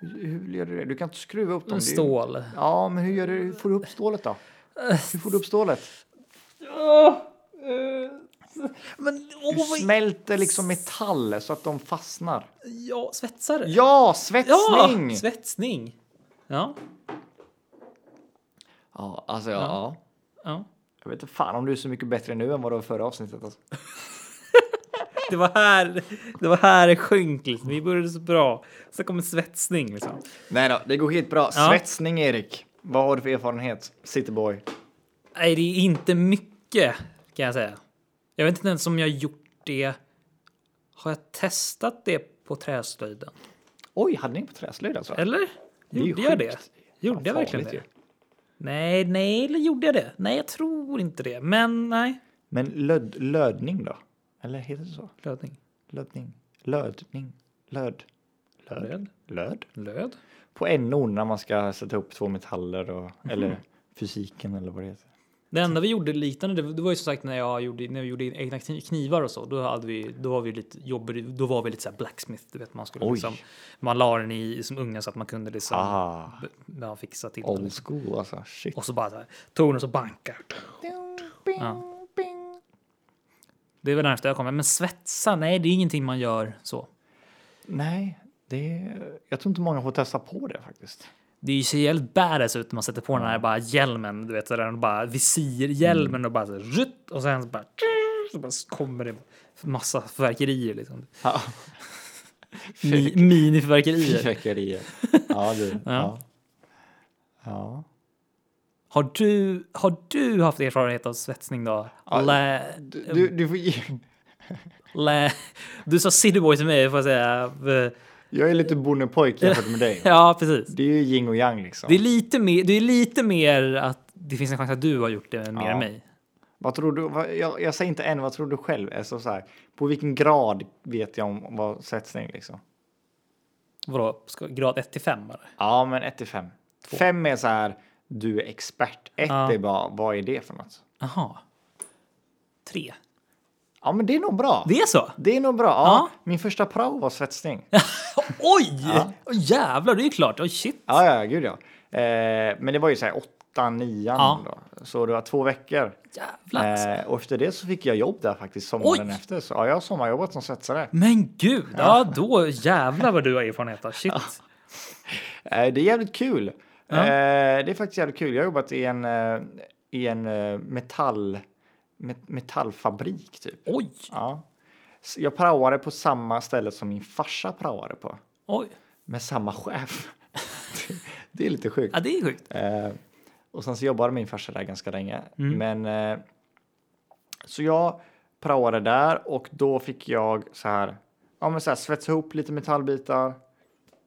Speaker 3: Hur, hur gör du det? Du kan inte skruva upp dem. det är ju-
Speaker 2: stål.
Speaker 3: Ja, men hur gör du? Hur får du upp stålet då? Hur får du upp stålet?
Speaker 2: Men
Speaker 3: Du
Speaker 2: åh, vad...
Speaker 3: smälter liksom metaller så att de fastnar.
Speaker 2: Ja, svetsare.
Speaker 3: Ja,
Speaker 2: Ja,
Speaker 3: svetsning!
Speaker 2: svetsning. Ja,
Speaker 3: Ja, alltså ja. ja.
Speaker 2: ja.
Speaker 3: Jag vet inte fan om du är så mycket bättre nu än vad du var förra avsnittet. Alltså.
Speaker 2: Det var här det var här det sjönk. Liksom. Vi började så bra. Sen kom en svetsning. Liksom.
Speaker 3: Nej då, det går helt bra.
Speaker 2: Ja.
Speaker 3: Svetsning, Erik. Vad har du för erfarenhet? Cityboy.
Speaker 2: Nej, det är inte mycket kan jag säga. Jag vet inte ens om jag gjort det. Har jag testat det på träslöjden?
Speaker 3: Oj, hade ni på träslöjd alltså?
Speaker 2: Eller?
Speaker 3: Det är ju
Speaker 2: Gjorde jag det?
Speaker 3: sjukt.
Speaker 2: Gjorde
Speaker 3: Fan,
Speaker 2: jag verkligen det?
Speaker 3: farligt
Speaker 2: Nej, nej, eller gjorde jag det? Nej, jag tror inte det. Men nej.
Speaker 3: Men löd, lödning då? Eller heter det så?
Speaker 2: Lödning.
Speaker 3: Lödning? Lödning? Löd?
Speaker 2: Löd.
Speaker 3: Löd?
Speaker 2: Löd?
Speaker 3: På NO när man ska sätta upp två metaller och,
Speaker 2: Mhm.
Speaker 3: eller fysiken eller vad det heter.
Speaker 2: Det enda vi gjorde liknande, det det var ju som sagt när jag gjorde, när vi gjorde egna kni- knivar och så. Då, hade vi, då var vi lite jobbig, då var vi lite så här blacksmith, du vet man skulle
Speaker 3: Oj.
Speaker 2: liksom, man la den i som unga så att man kunde liksom
Speaker 3: Ah,
Speaker 2: b- ja, fixa till den.
Speaker 3: old
Speaker 2: Liksom.
Speaker 3: school alltså. Shit.
Speaker 2: Och så bara så här, tog den och så bankar. Ja. Det är väl närmast jag kommer. Men svetsa, nej det är ingenting man gör så.
Speaker 3: Nej, det är, jag tror inte många får testa på det faktiskt.
Speaker 2: Det är ju så jävligt badass ut när man sätter på den här bara hjälmen, du vet så där den bara visirhjälmen och bara så här, rutt, och sen så bara, så bara kommer det massa fyrverkerier liksom.
Speaker 3: Ja.
Speaker 2: Mi, minifyrverkerier.
Speaker 3: Fyrverkerier. Ja, du. Ja. ja.
Speaker 2: Har du, har du haft erfarenhet av svetsning då? Lä,
Speaker 3: Du, du får ge...
Speaker 2: Lä- Du sa cityboy till mig får jag säga.
Speaker 3: Jag är lite bonnepojk jämfört med dig.
Speaker 2: Ja, precis.
Speaker 3: Det är ju yin och yang liksom.
Speaker 2: Det är lite mer, det är lite mer att det finns en chans att du har gjort det mer
Speaker 3: Ja.
Speaker 2: än mig.
Speaker 3: Vad tror du? Vad, jag, jag säger inte än, vad tror du själv? Alltså så här, på vilken grad vet jag om vad sättning liksom?
Speaker 2: Vadå, ska, grad 1 till 5 bara?
Speaker 3: Ja, men 1 till 5. 5 är så här, du är expert. 1
Speaker 2: Ja.
Speaker 3: är bara, vad är det för något?
Speaker 2: Jaha. 3.
Speaker 3: Ja, men det är nog bra. Det,
Speaker 2: Det är så?
Speaker 3: är nog bra. Ja,
Speaker 2: Ja.
Speaker 3: Min första prao var svetsning.
Speaker 2: Oj! Åh, jävlar, det är ju klart. Oj, shit.
Speaker 3: Ja, ja, gud ja. Eh, men det var ju så här 8, 9
Speaker 2: Ja.
Speaker 3: då. Så det var två veckor.
Speaker 2: Jävlar.
Speaker 3: Eh, och efter det så fick jag jobb där faktiskt sommaren
Speaker 2: Oj!
Speaker 3: efter. Så, ja, jag har sommarjobbat som svetsare.
Speaker 2: Men gud, ja då jävlar vad du har erfarenhet av. Shit.
Speaker 3: Eh, Det är jävligt kul.
Speaker 2: Ja.
Speaker 3: Eh, Det är faktiskt jävligt kul. Jag har jobbat i en, eh, i en eh, metall, met- metallfabrik typ.
Speaker 2: Oj,
Speaker 3: Ja. S- Jag praoade på samma ställe som min farsa praoade på.
Speaker 2: oj.
Speaker 3: Med samma chef. det är lite sjukt.
Speaker 2: Ja, det är sjukt.
Speaker 3: Eh, och sen så jobbade min farsa där ganska länge.
Speaker 2: Mm.
Speaker 3: Men, eh, så jag praoade där och då fick jag så här, ja men så här svetsa ihop lite metallbitar.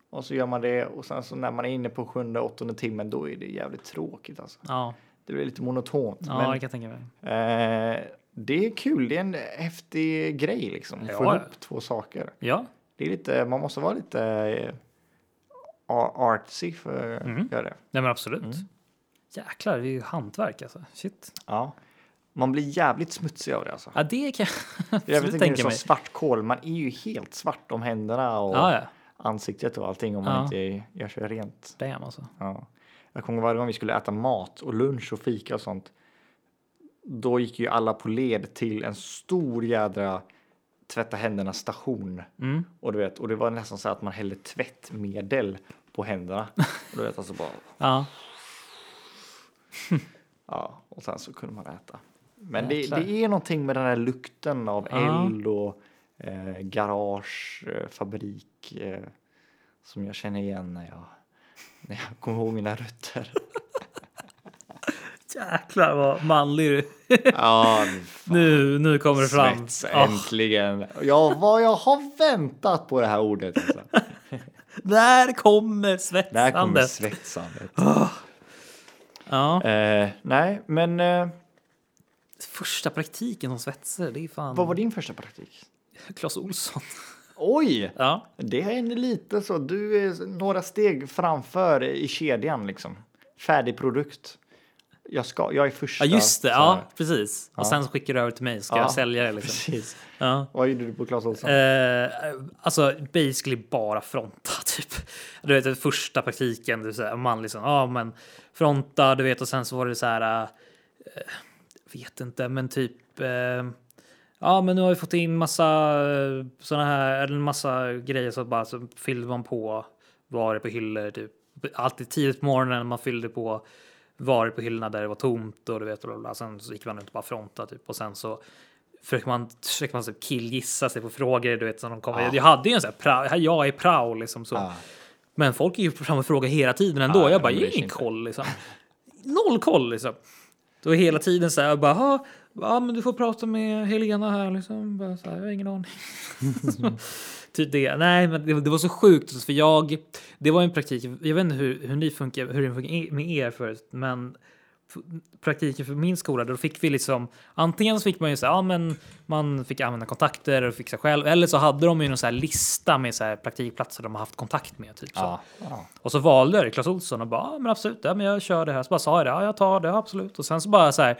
Speaker 3: Och så gör man det och sen så när man är inne på sjunde, åttonde timmen då är det jävligt tråkigt alltså.
Speaker 2: Ja,
Speaker 3: Det blir lite monotont.
Speaker 2: ja
Speaker 3: men,
Speaker 2: det kan jag tänka mig.
Speaker 3: eh, det är kul, det är en häftig grej liksom. att Få
Speaker 2: Ja.
Speaker 3: ihop två saker.
Speaker 2: Ja,
Speaker 3: Det är lite, man måste vara lite eh, ar- artsy för att
Speaker 2: Mm.
Speaker 3: göra det.
Speaker 2: nej men absolut. Jäklar, det är ju hantverk alltså. Shit.
Speaker 3: Ja. Man blir jävligt smutsig av det alltså.
Speaker 2: Ja, det kan jag
Speaker 3: Jag vet
Speaker 2: absolut
Speaker 3: inte, det är
Speaker 2: tänka
Speaker 3: som
Speaker 2: mig.
Speaker 3: svartkål. Man är ju helt svart om händerna och
Speaker 2: Ja, ja.
Speaker 3: ansiktet och allting om man
Speaker 2: Ja.
Speaker 3: inte gör sig rent.
Speaker 2: Damn alltså.
Speaker 3: Ja. Jag kommer ihåg varje gång vi skulle äta mat och lunch och fika och sånt. Då gick ju alla på led till en stor jädra tvätta händerna station.
Speaker 2: Mm.
Speaker 3: Och, du vet, och det var nästan så att man hällde tvättmedel på händerna. Och du vet, alltså bara,
Speaker 2: Ja,
Speaker 3: Ja, och sen så kunde man äta. Men det,
Speaker 2: Jäklar.
Speaker 3: det är någonting med den här lukten av
Speaker 2: Ja.
Speaker 3: eld och eh, garage, eh, fabrik eh, som jag känner igen när jag, när jag kommer ihåg mina rötter.
Speaker 2: jäklar vad manlig du
Speaker 3: ja,
Speaker 2: Nu, nu kommer det fram.
Speaker 3: svets,
Speaker 2: Ja.
Speaker 3: äntligen. Ja, vad jag har väntat på det här ordet. Alltså.
Speaker 2: Där kommer
Speaker 3: Där kommer
Speaker 2: svetsandet.
Speaker 3: svetsandet.
Speaker 2: Ja.
Speaker 3: Eh, nej, men eh,
Speaker 2: Första praktiken som svetsare, det är fan
Speaker 3: vad var din första praktik?
Speaker 2: Clas Olsson.
Speaker 3: Oj!
Speaker 2: Ja.
Speaker 3: Det är en lite så. Du är några steg framför i kedjan liksom. Färdig produkt. Jag, ska, jag är första.
Speaker 2: ja, just det.
Speaker 3: så
Speaker 2: Ja,
Speaker 3: här.
Speaker 2: precis. Och sen så skickar du över till mig så ska
Speaker 3: Ja,
Speaker 2: jag sälja det. Liksom.
Speaker 3: Precis.
Speaker 2: Ja.
Speaker 3: Vad gjorde du på Clas Ohlson?
Speaker 2: Eh, alltså basically bara fronta typ. Du vet den första praktiken, du säger man liksom, ja men fronta, du vet och sen så var det så här, eh, vet inte, men typ, eh, ja men nu har vi fått in massa eh, såna här, eller en massa grejer så bara så fyllde man på varor på hyllor typ. Alltid tidigt på morgonen man fyllde på varor på hyllorna där det var tomt och du vet, och bla, bla, bla. sen så gick man runt och bara fronta typ och sen så försöker man, försöker man typ killgissa sig på frågor, du vet, som de kommer.
Speaker 3: Ja.
Speaker 2: Jag hade ju en sån här, pra, jag är prao liksom så.
Speaker 3: Ja.
Speaker 2: Men folk är ju fram och frågar hela tiden ändå.
Speaker 3: Ah. Ja,
Speaker 2: jag
Speaker 3: de
Speaker 2: bara,
Speaker 3: bryr
Speaker 2: jag
Speaker 3: sig
Speaker 2: har ingen
Speaker 3: inte.
Speaker 2: koll liksom. Noll koll liksom. Då hela tiden så här, jag bara, "Ha, ja men du får prata med Helena här liksom. Bara så här, jag har ingen aning. typ det. Nej, men det, det var så sjukt alltså, för jag, det var en praktik, jag vet inte hur, hur ni funkar, hur det funkar med er förut, men praktiken för min skola, då fick vi liksom antingen så fick man ju så här, ja, men man fick använda kontakter och fixa själv eller så hade de ju någon så här lista med så här praktikplatser de har haft kontakt med. Typ, så.
Speaker 3: Ja. Ja.
Speaker 2: Och så valde jag det, Clas Ohlson och bara ja, men absolut, ja, men jag kör det här. Så bara sa jag det, ja, jag tar det, ja, absolut. Och sen så bara så här,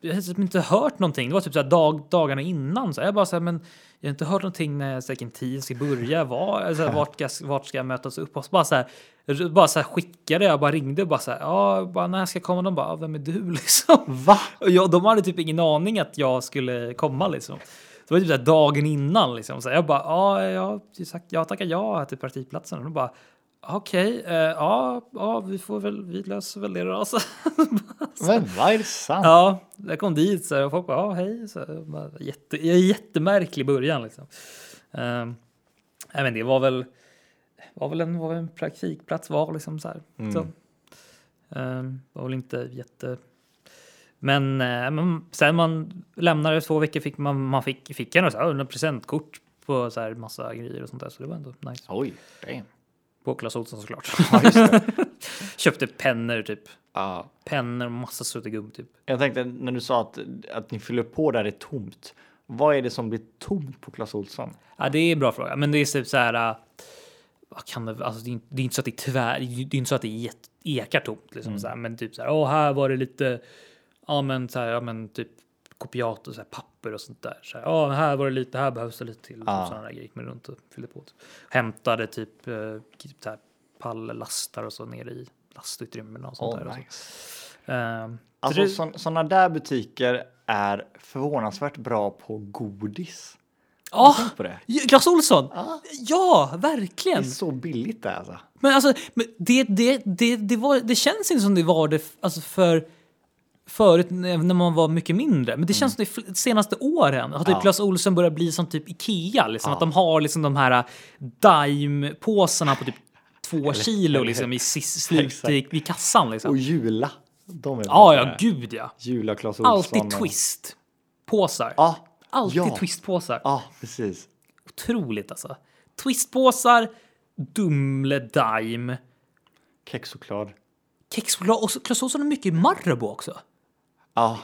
Speaker 2: jag hade typ inte hört någonting. Det var typ så här dag, dagarna innan. Så här, jag bara så här, men jag har inte hört någonting när säkert tiden ska börja. Var, så här, vart, ska, vart ska jag mötas upp? Och så bara så här, r- bara så här skickade jag, bara ringde och bara så här, ja, bara, när ska jag komma? De bara, ja, vem är du liksom?
Speaker 3: Va?
Speaker 2: Och jag, de hade typ ingen aning att jag skulle komma liksom. Det var typ så här dagen innan liksom. Så här, jag bara, ja, jag, jag tackar ja till praktikplatsen. Och de bara, okej, eh, ja, ja, vi får väl, vi löser väl det då. Alltså.
Speaker 3: Men vad är det sant?
Speaker 2: ja, jag kom dit så här, och folk bara, ja, hej. Så här, jag bara, jätte, jag är jättemärklig i början liksom. Ehm, nej, men det var väl, var väl en, var väl en Mm. praktikplats var liksom så här. Så, ehm, var väl inte jätte... Men, eh, men sen man lämnade två veckor fick man, man fick, fick en och så här, en presentkort på så här massa grejer och sånt där. Så det var ändå nice.
Speaker 3: Oj, damn.
Speaker 2: På Clas Ohlson såklart.
Speaker 3: Ja, just det.
Speaker 2: Köpte pennor typ.
Speaker 3: Ja.
Speaker 2: Pennor och massa suttigum typ.
Speaker 3: Jag tänkte när du sa att, att ni fyller på där det är tomt. Vad är det som blir tomt på Clas Ohlson?
Speaker 2: Ja, det är en bra fråga. Men det är typ så här. äh, Vad kan det, alltså, det, är, inte- det är inte så att det är tvär, det är inte så att det är jätte- ekar tomt liksom
Speaker 3: Mm.
Speaker 2: så här, men typ så här. Åh, här var det lite. Ja, men så här, ja, men typ kopiat och så här, papper och sånt där. Så här, ja, här var det lite, här behövs det lite till.
Speaker 3: Ja.
Speaker 2: Ah. Sådana där grejer gick man runt och fyllde på. Typ. Hämtade typ, eh, typ så här, pallastar och så nere i lastutrymmena och sånt
Speaker 3: Åh,
Speaker 2: där. Och så.
Speaker 3: nice.
Speaker 2: Ehm, så
Speaker 3: Alltså
Speaker 2: det-
Speaker 3: sådana där butiker är förvånansvärt bra på godis.
Speaker 2: Ja,
Speaker 3: Tänk på det.
Speaker 2: Clas Ohlson!
Speaker 3: Ja.
Speaker 2: Ja,
Speaker 3: Det är
Speaker 2: verkligen!
Speaker 3: så billigt där alltså.
Speaker 2: Men alltså, men det, det, det, det, var, det känns inte som det var det f- alltså för förut när när man var mycket mindre. Men det känns som det fl- senaste åren har typ
Speaker 3: Mm. Ja.
Speaker 2: Clas Ohlson börjat bli som typ Ikea. Liksom,
Speaker 3: Ja.
Speaker 2: Att de har liksom de här Dime-påsarna på typ två kilo liksom, i sis- slut i, i kassan. Liksom.
Speaker 3: Och Jula. De är
Speaker 2: Ja,
Speaker 3: bra på
Speaker 2: ja,
Speaker 3: det.
Speaker 2: gud ja.
Speaker 3: Jula, Clas Ohlson.
Speaker 2: Alltid
Speaker 3: och-
Speaker 2: twist-påsar.
Speaker 3: Ja.
Speaker 2: Alltid
Speaker 3: ja.
Speaker 2: twist-påsar.
Speaker 3: Ja, precis.
Speaker 2: Otroligt alltså. Twistpåsar, Dumle Dime.
Speaker 3: Kexchoklad.
Speaker 2: kexchoklad och så- Clas Ohlson har mycket Marabou också.
Speaker 3: Ja.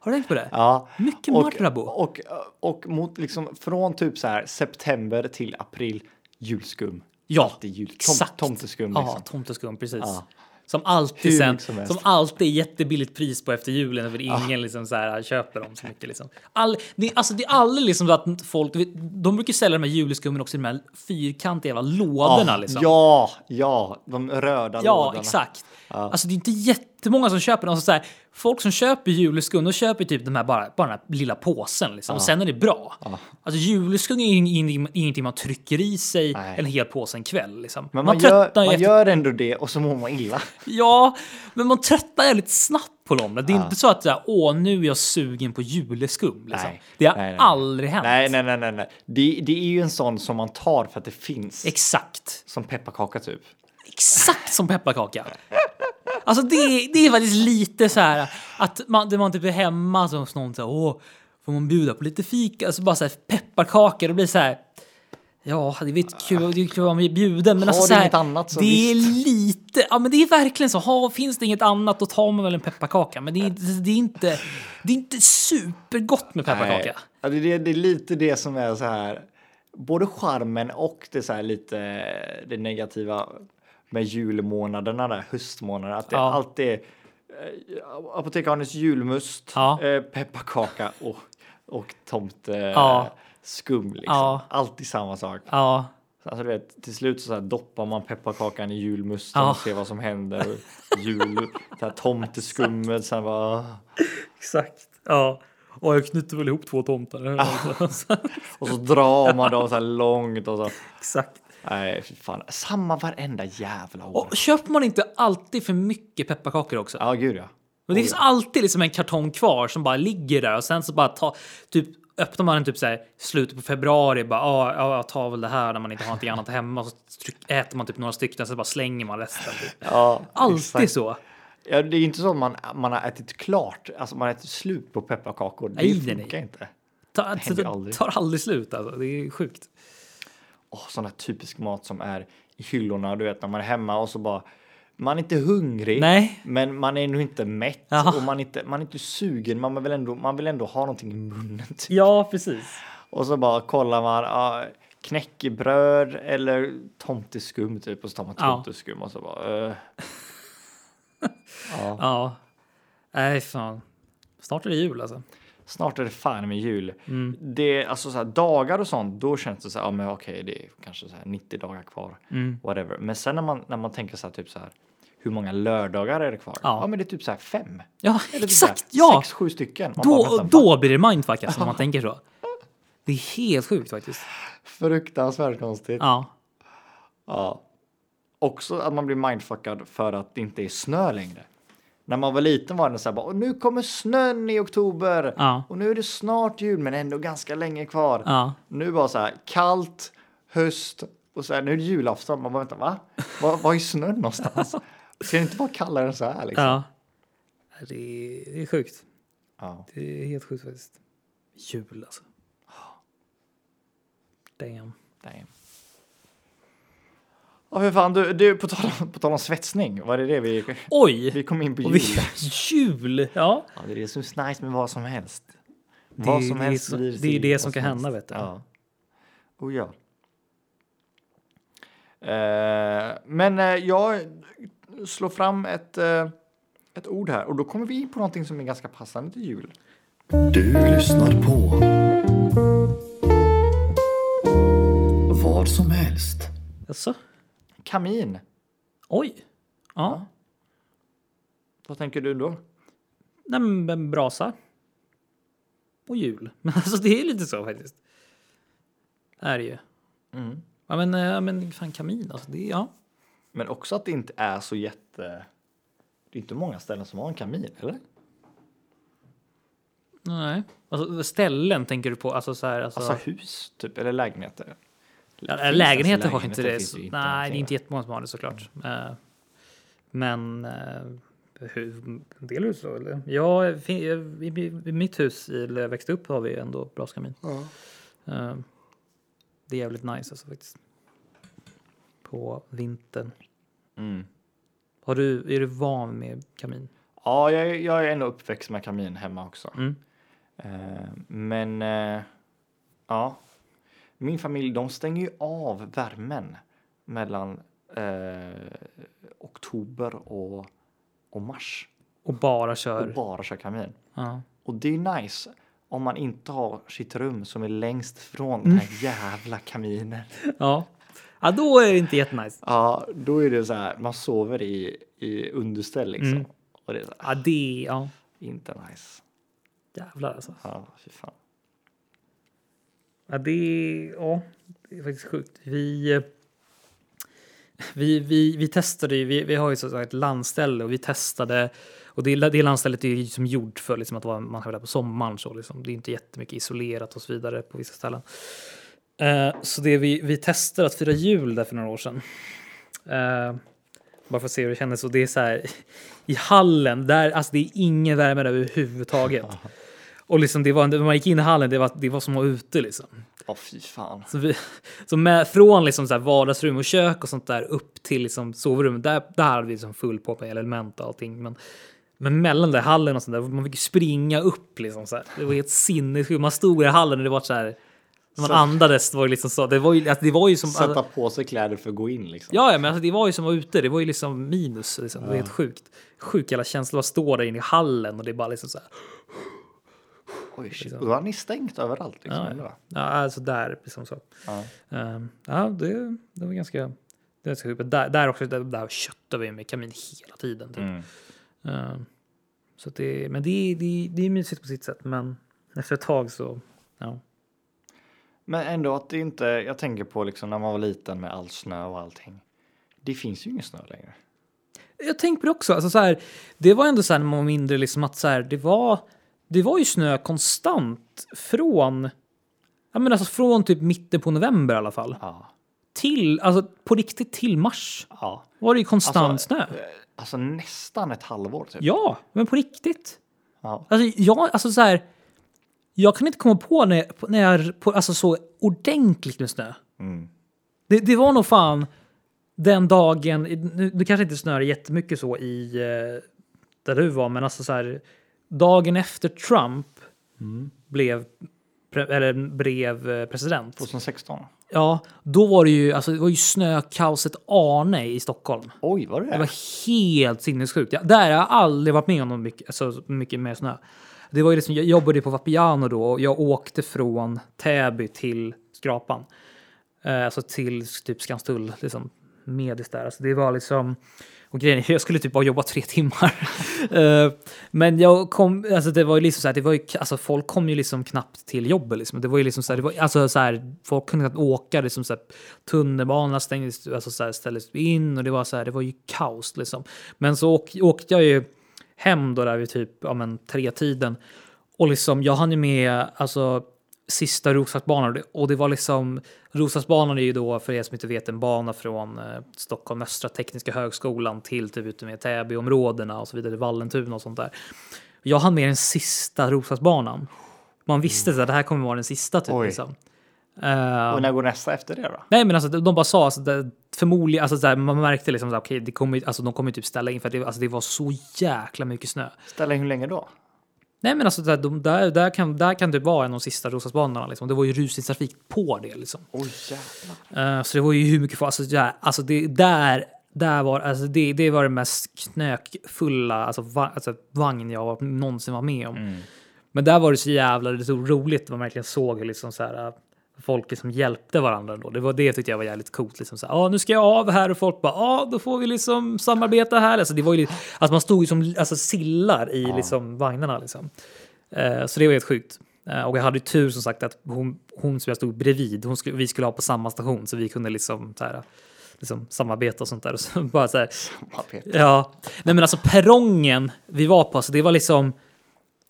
Speaker 2: Har du tänkt på det?
Speaker 3: ja.
Speaker 2: Mycket Marabou.
Speaker 3: Och, och, eh, och mot liksom från typ så här september till april julskum.
Speaker 2: ja,
Speaker 3: Det är jul. Tom,
Speaker 2: exakt.
Speaker 3: Tomteskum
Speaker 2: Ja,
Speaker 3: liksom.
Speaker 2: tomteskum, precis.
Speaker 3: Ja.
Speaker 2: Som alltid
Speaker 3: Hur
Speaker 2: sen,
Speaker 3: mycket som
Speaker 2: som,
Speaker 3: helst.
Speaker 2: alltid är jättebilligt pris på efter julen för ingen liksom så här, köper dem så mycket. Liksom. All, det, är- alltså, det är aldrig liksom så att folk, de brukar sälja de här juleskummen också i de här fyrkantiga jävla lådorna.
Speaker 3: Ja,
Speaker 2: liksom.
Speaker 3: Ja, ja, de röda
Speaker 2: Ja,
Speaker 3: lådorna.
Speaker 2: exakt. Alltså det är inte jättemånga som köper dem. Alltså, så här, folk som köper juleskum, de köper typ de här bara, bara den här lilla påsen liksom. Och sen är det bra. Alltså juleskum är ju in- in- ingenting man trycker i sig
Speaker 3: Nej.
Speaker 2: en hel påse en kväll liksom.
Speaker 3: Men man, gör,
Speaker 2: tröttnar
Speaker 3: man
Speaker 2: ju efter...
Speaker 3: gör ändå det och så mår man illa.
Speaker 2: Ja, men man tröttnar jävligt snabbt på dem. Det är inte så att så här, åh nu är jag sugen på juleskum. Liksom.
Speaker 3: Nej.
Speaker 2: Det har
Speaker 3: Nej, nej, nej.
Speaker 2: aldrig hänt.
Speaker 3: Nej, nej, nej, nej, nej. Det, det är ju en sån som man tar för att det finns.
Speaker 2: Exakt.
Speaker 3: som pepparkaka typ.
Speaker 2: exakt som pepparkaka. Alltså det, det är faktiskt lite så här att man, det man typ är hemma så hos någon så här, åh, får man bjuda på lite fika? Alltså bara så här pepparkaka, det blir så här. Ja, det är kul, det är kul att vara bjuden, men
Speaker 3: Har
Speaker 2: alltså
Speaker 3: du
Speaker 2: så här,
Speaker 3: inget annat så
Speaker 2: det är
Speaker 3: visst.
Speaker 2: lite, ja men det är verkligen så, ha, finns det inget annat då tar man väl en pepparkaka, men det är, inte- det är inte, det är inte supergott med pepparkaka.
Speaker 3: Ja, det, är- det är lite det som är så här. Både charmen och det så här lite det negativa med julmånaderna där, höstmånaderna. Att det
Speaker 2: Ja.
Speaker 3: alltid är eh, Apotek Arnes julmust,
Speaker 2: Ja.
Speaker 3: eh, pepparkaka och, och tomte
Speaker 2: Ja.
Speaker 3: skum. Liksom.
Speaker 2: Ja.
Speaker 3: Alltid samma sak.
Speaker 2: Ja,
Speaker 3: Alltså, du vet, till slut så, så här doppar man pepparkakan i julmusten
Speaker 2: Ja.
Speaker 3: och ser vad som händer. Jul, så här, tomteskummet, sen bara...
Speaker 2: exakt. Ja. Och jag knyter väl ihop två tomtar.
Speaker 3: Och så drar man dem så här långt och så.
Speaker 2: exakt.
Speaker 3: Nej, fy fan. Samma varenda jävla år.
Speaker 2: Och köper man inte alltid för mycket pepparkakor också?
Speaker 3: Ja, gud ja.
Speaker 2: Men det finns alltid liksom en kartong kvar som bara ligger där och sen så bara ta, typ, öppnar man den typ så här, slutet på februari. Bara, ah, ja, jag tar väl det här när man inte har någonting annat hemma. Så tryck, äter man typ några stycken så bara slänger man resten. Typ.
Speaker 3: ja
Speaker 2: Alltid
Speaker 3: exakt.
Speaker 2: så.
Speaker 3: Ja, det är ju inte så att man, man har ätit klart, alltså man har ätit slut på pepparkakor. Det
Speaker 2: Nej, nej,
Speaker 3: funkar
Speaker 2: nej.
Speaker 3: inte.
Speaker 2: Ta, alltså,
Speaker 3: händer aldrig.
Speaker 2: tar aldrig slut alltså. Det är sjukt.
Speaker 3: Åh, sån här typisk mat som är i hyllorna, du vet när man är hemma och så bara man är inte hungrig,
Speaker 2: Nej.
Speaker 3: men man är nog inte mätt
Speaker 2: Ja.
Speaker 3: och man är inte, man är inte sugen. Man vill, ändå, man vill ändå ha någonting i munnen. Typ.
Speaker 2: Ja, precis.
Speaker 3: Och så bara kollar man ja, knäckebröd eller tomteskum typ och så tar man
Speaker 2: Ja.
Speaker 3: tomteskum och så bara. eh. ja.
Speaker 2: Ja. Nej, fan. Snart är det jul alltså.
Speaker 3: Snart är det fan med jul.
Speaker 2: Mm.
Speaker 3: Det alltså så här, dagar och sånt. Då känns det så här. Ja, men okej, det är kanske så här 90 dagar kvar.
Speaker 2: Mm.
Speaker 3: Whatever. Men sen när man när man tänker så här typ så här. Hur många lördagar är det kvar?
Speaker 2: Ja.
Speaker 3: Ja, men det är typ så här fem.
Speaker 2: Ja,
Speaker 3: Eller typ så här
Speaker 2: exakt. Ja,
Speaker 3: Sex, sju stycken. Man bara,
Speaker 2: då,
Speaker 3: vänta, fan,
Speaker 2: då blir det mindfuck alltså, om man tänker så. Det är helt sjukt faktiskt.
Speaker 3: Fruktansvärt konstigt.
Speaker 2: Ja.
Speaker 3: Ja. Också att man blir mindfuckad för att det inte är snö längre. När man var liten var det så här bara, "Åh, nu kommer snön i oktober
Speaker 2: Ja.
Speaker 3: och nu är det snart jul men ändå ganska länge kvar.
Speaker 2: Ja.
Speaker 3: Nu bara så här kallt, höst och så här, nu är det julafton. Man bara vänta va? Var, var är snön någonstans? Ska det inte vara kallare än så här liksom?
Speaker 2: Ja. Det är, det är sjukt.
Speaker 3: Ja.
Speaker 2: Det är helt sjukt faktiskt. Jul alltså. Damn.
Speaker 3: Damn. Ja, hur fan, du, du på, tal om, på tal om svetsning, var det det vi, vi
Speaker 2: Oj!
Speaker 3: kom in på
Speaker 2: Och
Speaker 3: jul?
Speaker 2: vi, jul! Ja.
Speaker 3: Ja, det är det som är så nice med vad som helst.
Speaker 2: Det är ju det som-
Speaker 3: blir
Speaker 2: det är
Speaker 3: till
Speaker 2: ju det
Speaker 3: vad
Speaker 2: som kan
Speaker 3: helst.
Speaker 2: hända, vet du.
Speaker 3: Ja. Oh, ja. Eh, men eh, jag slår fram ett, eh, ett ord här och då kommer vi in på någonting som är ganska passande till jul.
Speaker 4: Du lyssnar på vad som helst.
Speaker 2: Alltså.
Speaker 3: Kamin.
Speaker 2: Oj! Ja.
Speaker 3: Vad tänker du då?
Speaker 2: Nej, men men brasa. Och jul. Men alltså det är lite så faktiskt. Är det ju.
Speaker 3: Mm.
Speaker 2: Ja men, eh, ja, men fan kamin alltså. Det, är- ja.
Speaker 3: Men också att det inte är så jätte... Det är inte många ställen som har en kamin, eller?
Speaker 2: Nej. Alltså, ställen tänker du på? Alltså så här. Alltså,
Speaker 3: Alltså hus, typ, eller lägenheter.
Speaker 2: Ja,
Speaker 3: Finns
Speaker 2: lägenheter
Speaker 3: ens
Speaker 2: har inte det.
Speaker 3: lägenheter?
Speaker 2: Så,
Speaker 3: Finns ju inte
Speaker 2: nej, det är
Speaker 3: någonting,
Speaker 2: inte
Speaker 3: va?
Speaker 2: jättemånga som har det såklart. Eh, Men eh, hu- en del hus då? Eller? Ja, fin- i, i, i mitt hus i- där jag växte upp har vi ändå braskamin. Eh, Det är jävligt nice alltså faktiskt. På vintern.
Speaker 3: Mm.
Speaker 2: Har du, är du van med kamin?
Speaker 3: Ja, jag, är- jag är ändå uppväxt med kamin hemma också.
Speaker 2: Mm.
Speaker 3: Eh, men eh, ja, min familj de stänger ju av värmen mellan eh, oktober och, och mars
Speaker 2: Och bara
Speaker 3: och
Speaker 2: kör?
Speaker 3: bara kör kamin.
Speaker 2: ja.
Speaker 3: Och det är nice om man inte har sitt rum som är längst från
Speaker 2: Mm.
Speaker 3: den här jävla kaminen.
Speaker 2: ja. Ja, då är det inte jättenice.
Speaker 3: Ja, då är det så här, man sover i, i underställ liksom.
Speaker 2: Mm.
Speaker 3: Och det är så här,
Speaker 2: Ja, det ja.
Speaker 3: inte nice.
Speaker 2: Jävlar alltså.
Speaker 3: Ja, fy fan.
Speaker 2: Ja, det, ja, det är faktiskt sjukt. Vi, eh, vi, vi, vi testade ju, vi, vi har ju så sagt ett landställe och vi testade och det, det landstället är ju som gjort för liksom att vara, man kan vara där på sommaren så liksom. Det är inte jättemycket isolerat och så vidare på vissa ställen. Eh, så det vi, vi testade att fira jul där för några år sedan. Eh, bara för att se hur det kändes och det är så här i hallen där, alltså det är ingen värme där överhuvudtaget. Och liksom det var, en- när man gick in i hallen, det var, det var som att vara ute liksom.
Speaker 3: Åh, fy fan.
Speaker 2: Så, vi, så med, från liksom så här vardagsrum och kök och sånt där upp till liksom sovrum, där, där hade vi liksom full på med element och allting. Men, men mellan där hallen och sånt där, man fick ju springa upp liksom så här. Det var helt sinnessjukt. Man stod i hallen och det var så här, när man
Speaker 3: Så-
Speaker 2: andades, det var ju liksom så. Det var ju, alltså, det var ju som...
Speaker 3: Sätta på sig kläder för att gå in liksom.
Speaker 2: Ja, ja, men alltså, det var ju som att vara ute. Det var ju liksom minus. Liksom. Det är helt sjukt. Sjuk jävla känsla att stå där inne i hallen och det är bara liksom så här.
Speaker 3: Oj, shit. Och då har ni stängt överallt. Liksom,
Speaker 2: Ja,
Speaker 3: eller vad?
Speaker 2: Ja, alltså där liksom så.
Speaker 3: Ja.
Speaker 2: Ehm, ja, det, det var ganska... Det var ganska sjukt. Men där, där också, där, där köttar vi med kamin hela tiden. Typ.
Speaker 3: Mm.
Speaker 2: Ehm, så att det, men det, det, det är mysigt på sitt sätt, men efter ett tag så... Ja.
Speaker 3: Men ändå att det inte, jag tänker på liksom när man var liten med all snö och allting. Det finns ju ingen snö längre.
Speaker 2: Jag tänkte på det också. Alltså, så här, det var ändå så här när man var mindre, liksom, att så här, det, var, det var ju snö konstant från... Ja, men alltså från typ mitten på november i alla fall.
Speaker 3: Ja.
Speaker 2: Till, alltså på riktigt till mars
Speaker 3: ja.
Speaker 2: var det ju konstant
Speaker 3: Alltså,
Speaker 2: snö.
Speaker 3: eh, Alltså nästan ett halvår typ.
Speaker 2: Ja, men på riktigt.
Speaker 3: Ja.
Speaker 2: Alltså, jag, alltså så här, jag kan inte komma på när, på- när jag på, alltså så ordentligt med snö.
Speaker 3: Mm.
Speaker 2: Det, det var nog fan den dagen, nu, det kanske inte snöade jättemycket så i eh, där du var, men alltså så här, dagen efter Trump blev, pre, eller blev eh, president.
Speaker 3: 2016.
Speaker 2: Ja, då var det ju, alltså, det var ju snökaoset Arne i Stockholm.
Speaker 3: Oj, var det
Speaker 2: Det
Speaker 3: det?
Speaker 2: var helt sinnessjukt. Jag, där har jag aldrig varit med om något mycket, alltså, mycket mer snö. Det var ju liksom, jag jobbade på Vapiano då och jag åkte från Täby till Skrapan. Eh, alltså till typ Skanstull, liksom medis där. Alltså det var liksom... Och grejen är, jag skulle typ bara jobba tre timmar. Eh, Men jag kom, alltså det var ju liksom så här, det var ju, alltså folk kom ju liksom knappt till jobbet liksom. Det var ju liksom så här, det var, alltså så här, folk kunde knappt åka, liksom så här, tunnelbanan stängdes, alltså så här, ställdes in och det var så här, det var ju kaos liksom. Men så åk, åkte jag ju hem då där vid typ, ja men tre tiden. Och liksom, jag hann ju med, alltså sista Roslagsbanan och det- och det var liksom Roslagsbanan är ju då för er som inte vet en bana från eh, Stockholm Östra Tekniska Högskolan till typ ute med Täbyområdena och så vidare, Vallentuna och sånt där. Jag hann med den sista Roslagsbanan. Man visste att det här kommer vara den sista typ.
Speaker 3: Oj.
Speaker 2: Liksom. Eh,
Speaker 3: Och när går nästa efter det då?
Speaker 2: Nej, men alltså, de bara sa alltså, det- förmodligen, alltså, så här, man märkte liksom att okay, det kommer, alltså, de kommer typ ställa in för att det, alltså, det var så jäkla mycket snö.
Speaker 3: Ställa in hur länge då?
Speaker 2: Nej, men alltså, där, de, där, där, kan, där kan det vara en av de sista Roslagsbanorna. Liksom. Det var ju rusningstrafik på det. Liksom.
Speaker 3: Oj jävlar.
Speaker 2: Eh, så det var ju hur mycket fart. Alltså, där, alltså, det, där, där var, alltså, det, det var det mest knökfulla alltså, va, alltså, vagn jag var, någonsin var med om. Men där var det så jävla det var så roligt. Man verkligen såg hur liksom, så här, eh, folk liksom hjälpte varandra. Då. Det, var, det tyckte jag var jävligt coolt. Liksom, så här, ah, nu ska jag av här och folk bara ah, då får vi liksom samarbeta här. Alltså, det var ju, lite- alltså, man stod ju som alltså, sillar i liksom, vagnarna. Liksom. Eh, så det var helt sjukt. Eh, och jag hade ju tur som sagt att hon, hon som jag stod bredvid, hon skulle, vi skulle ha på samma station så vi kunde liksom, så här, liksom samarbeta och sånt där. Och så bara så här,
Speaker 3: Ja, Peter.
Speaker 2: ja. Nej men alltså perrongen vi var på, alltså, det var liksom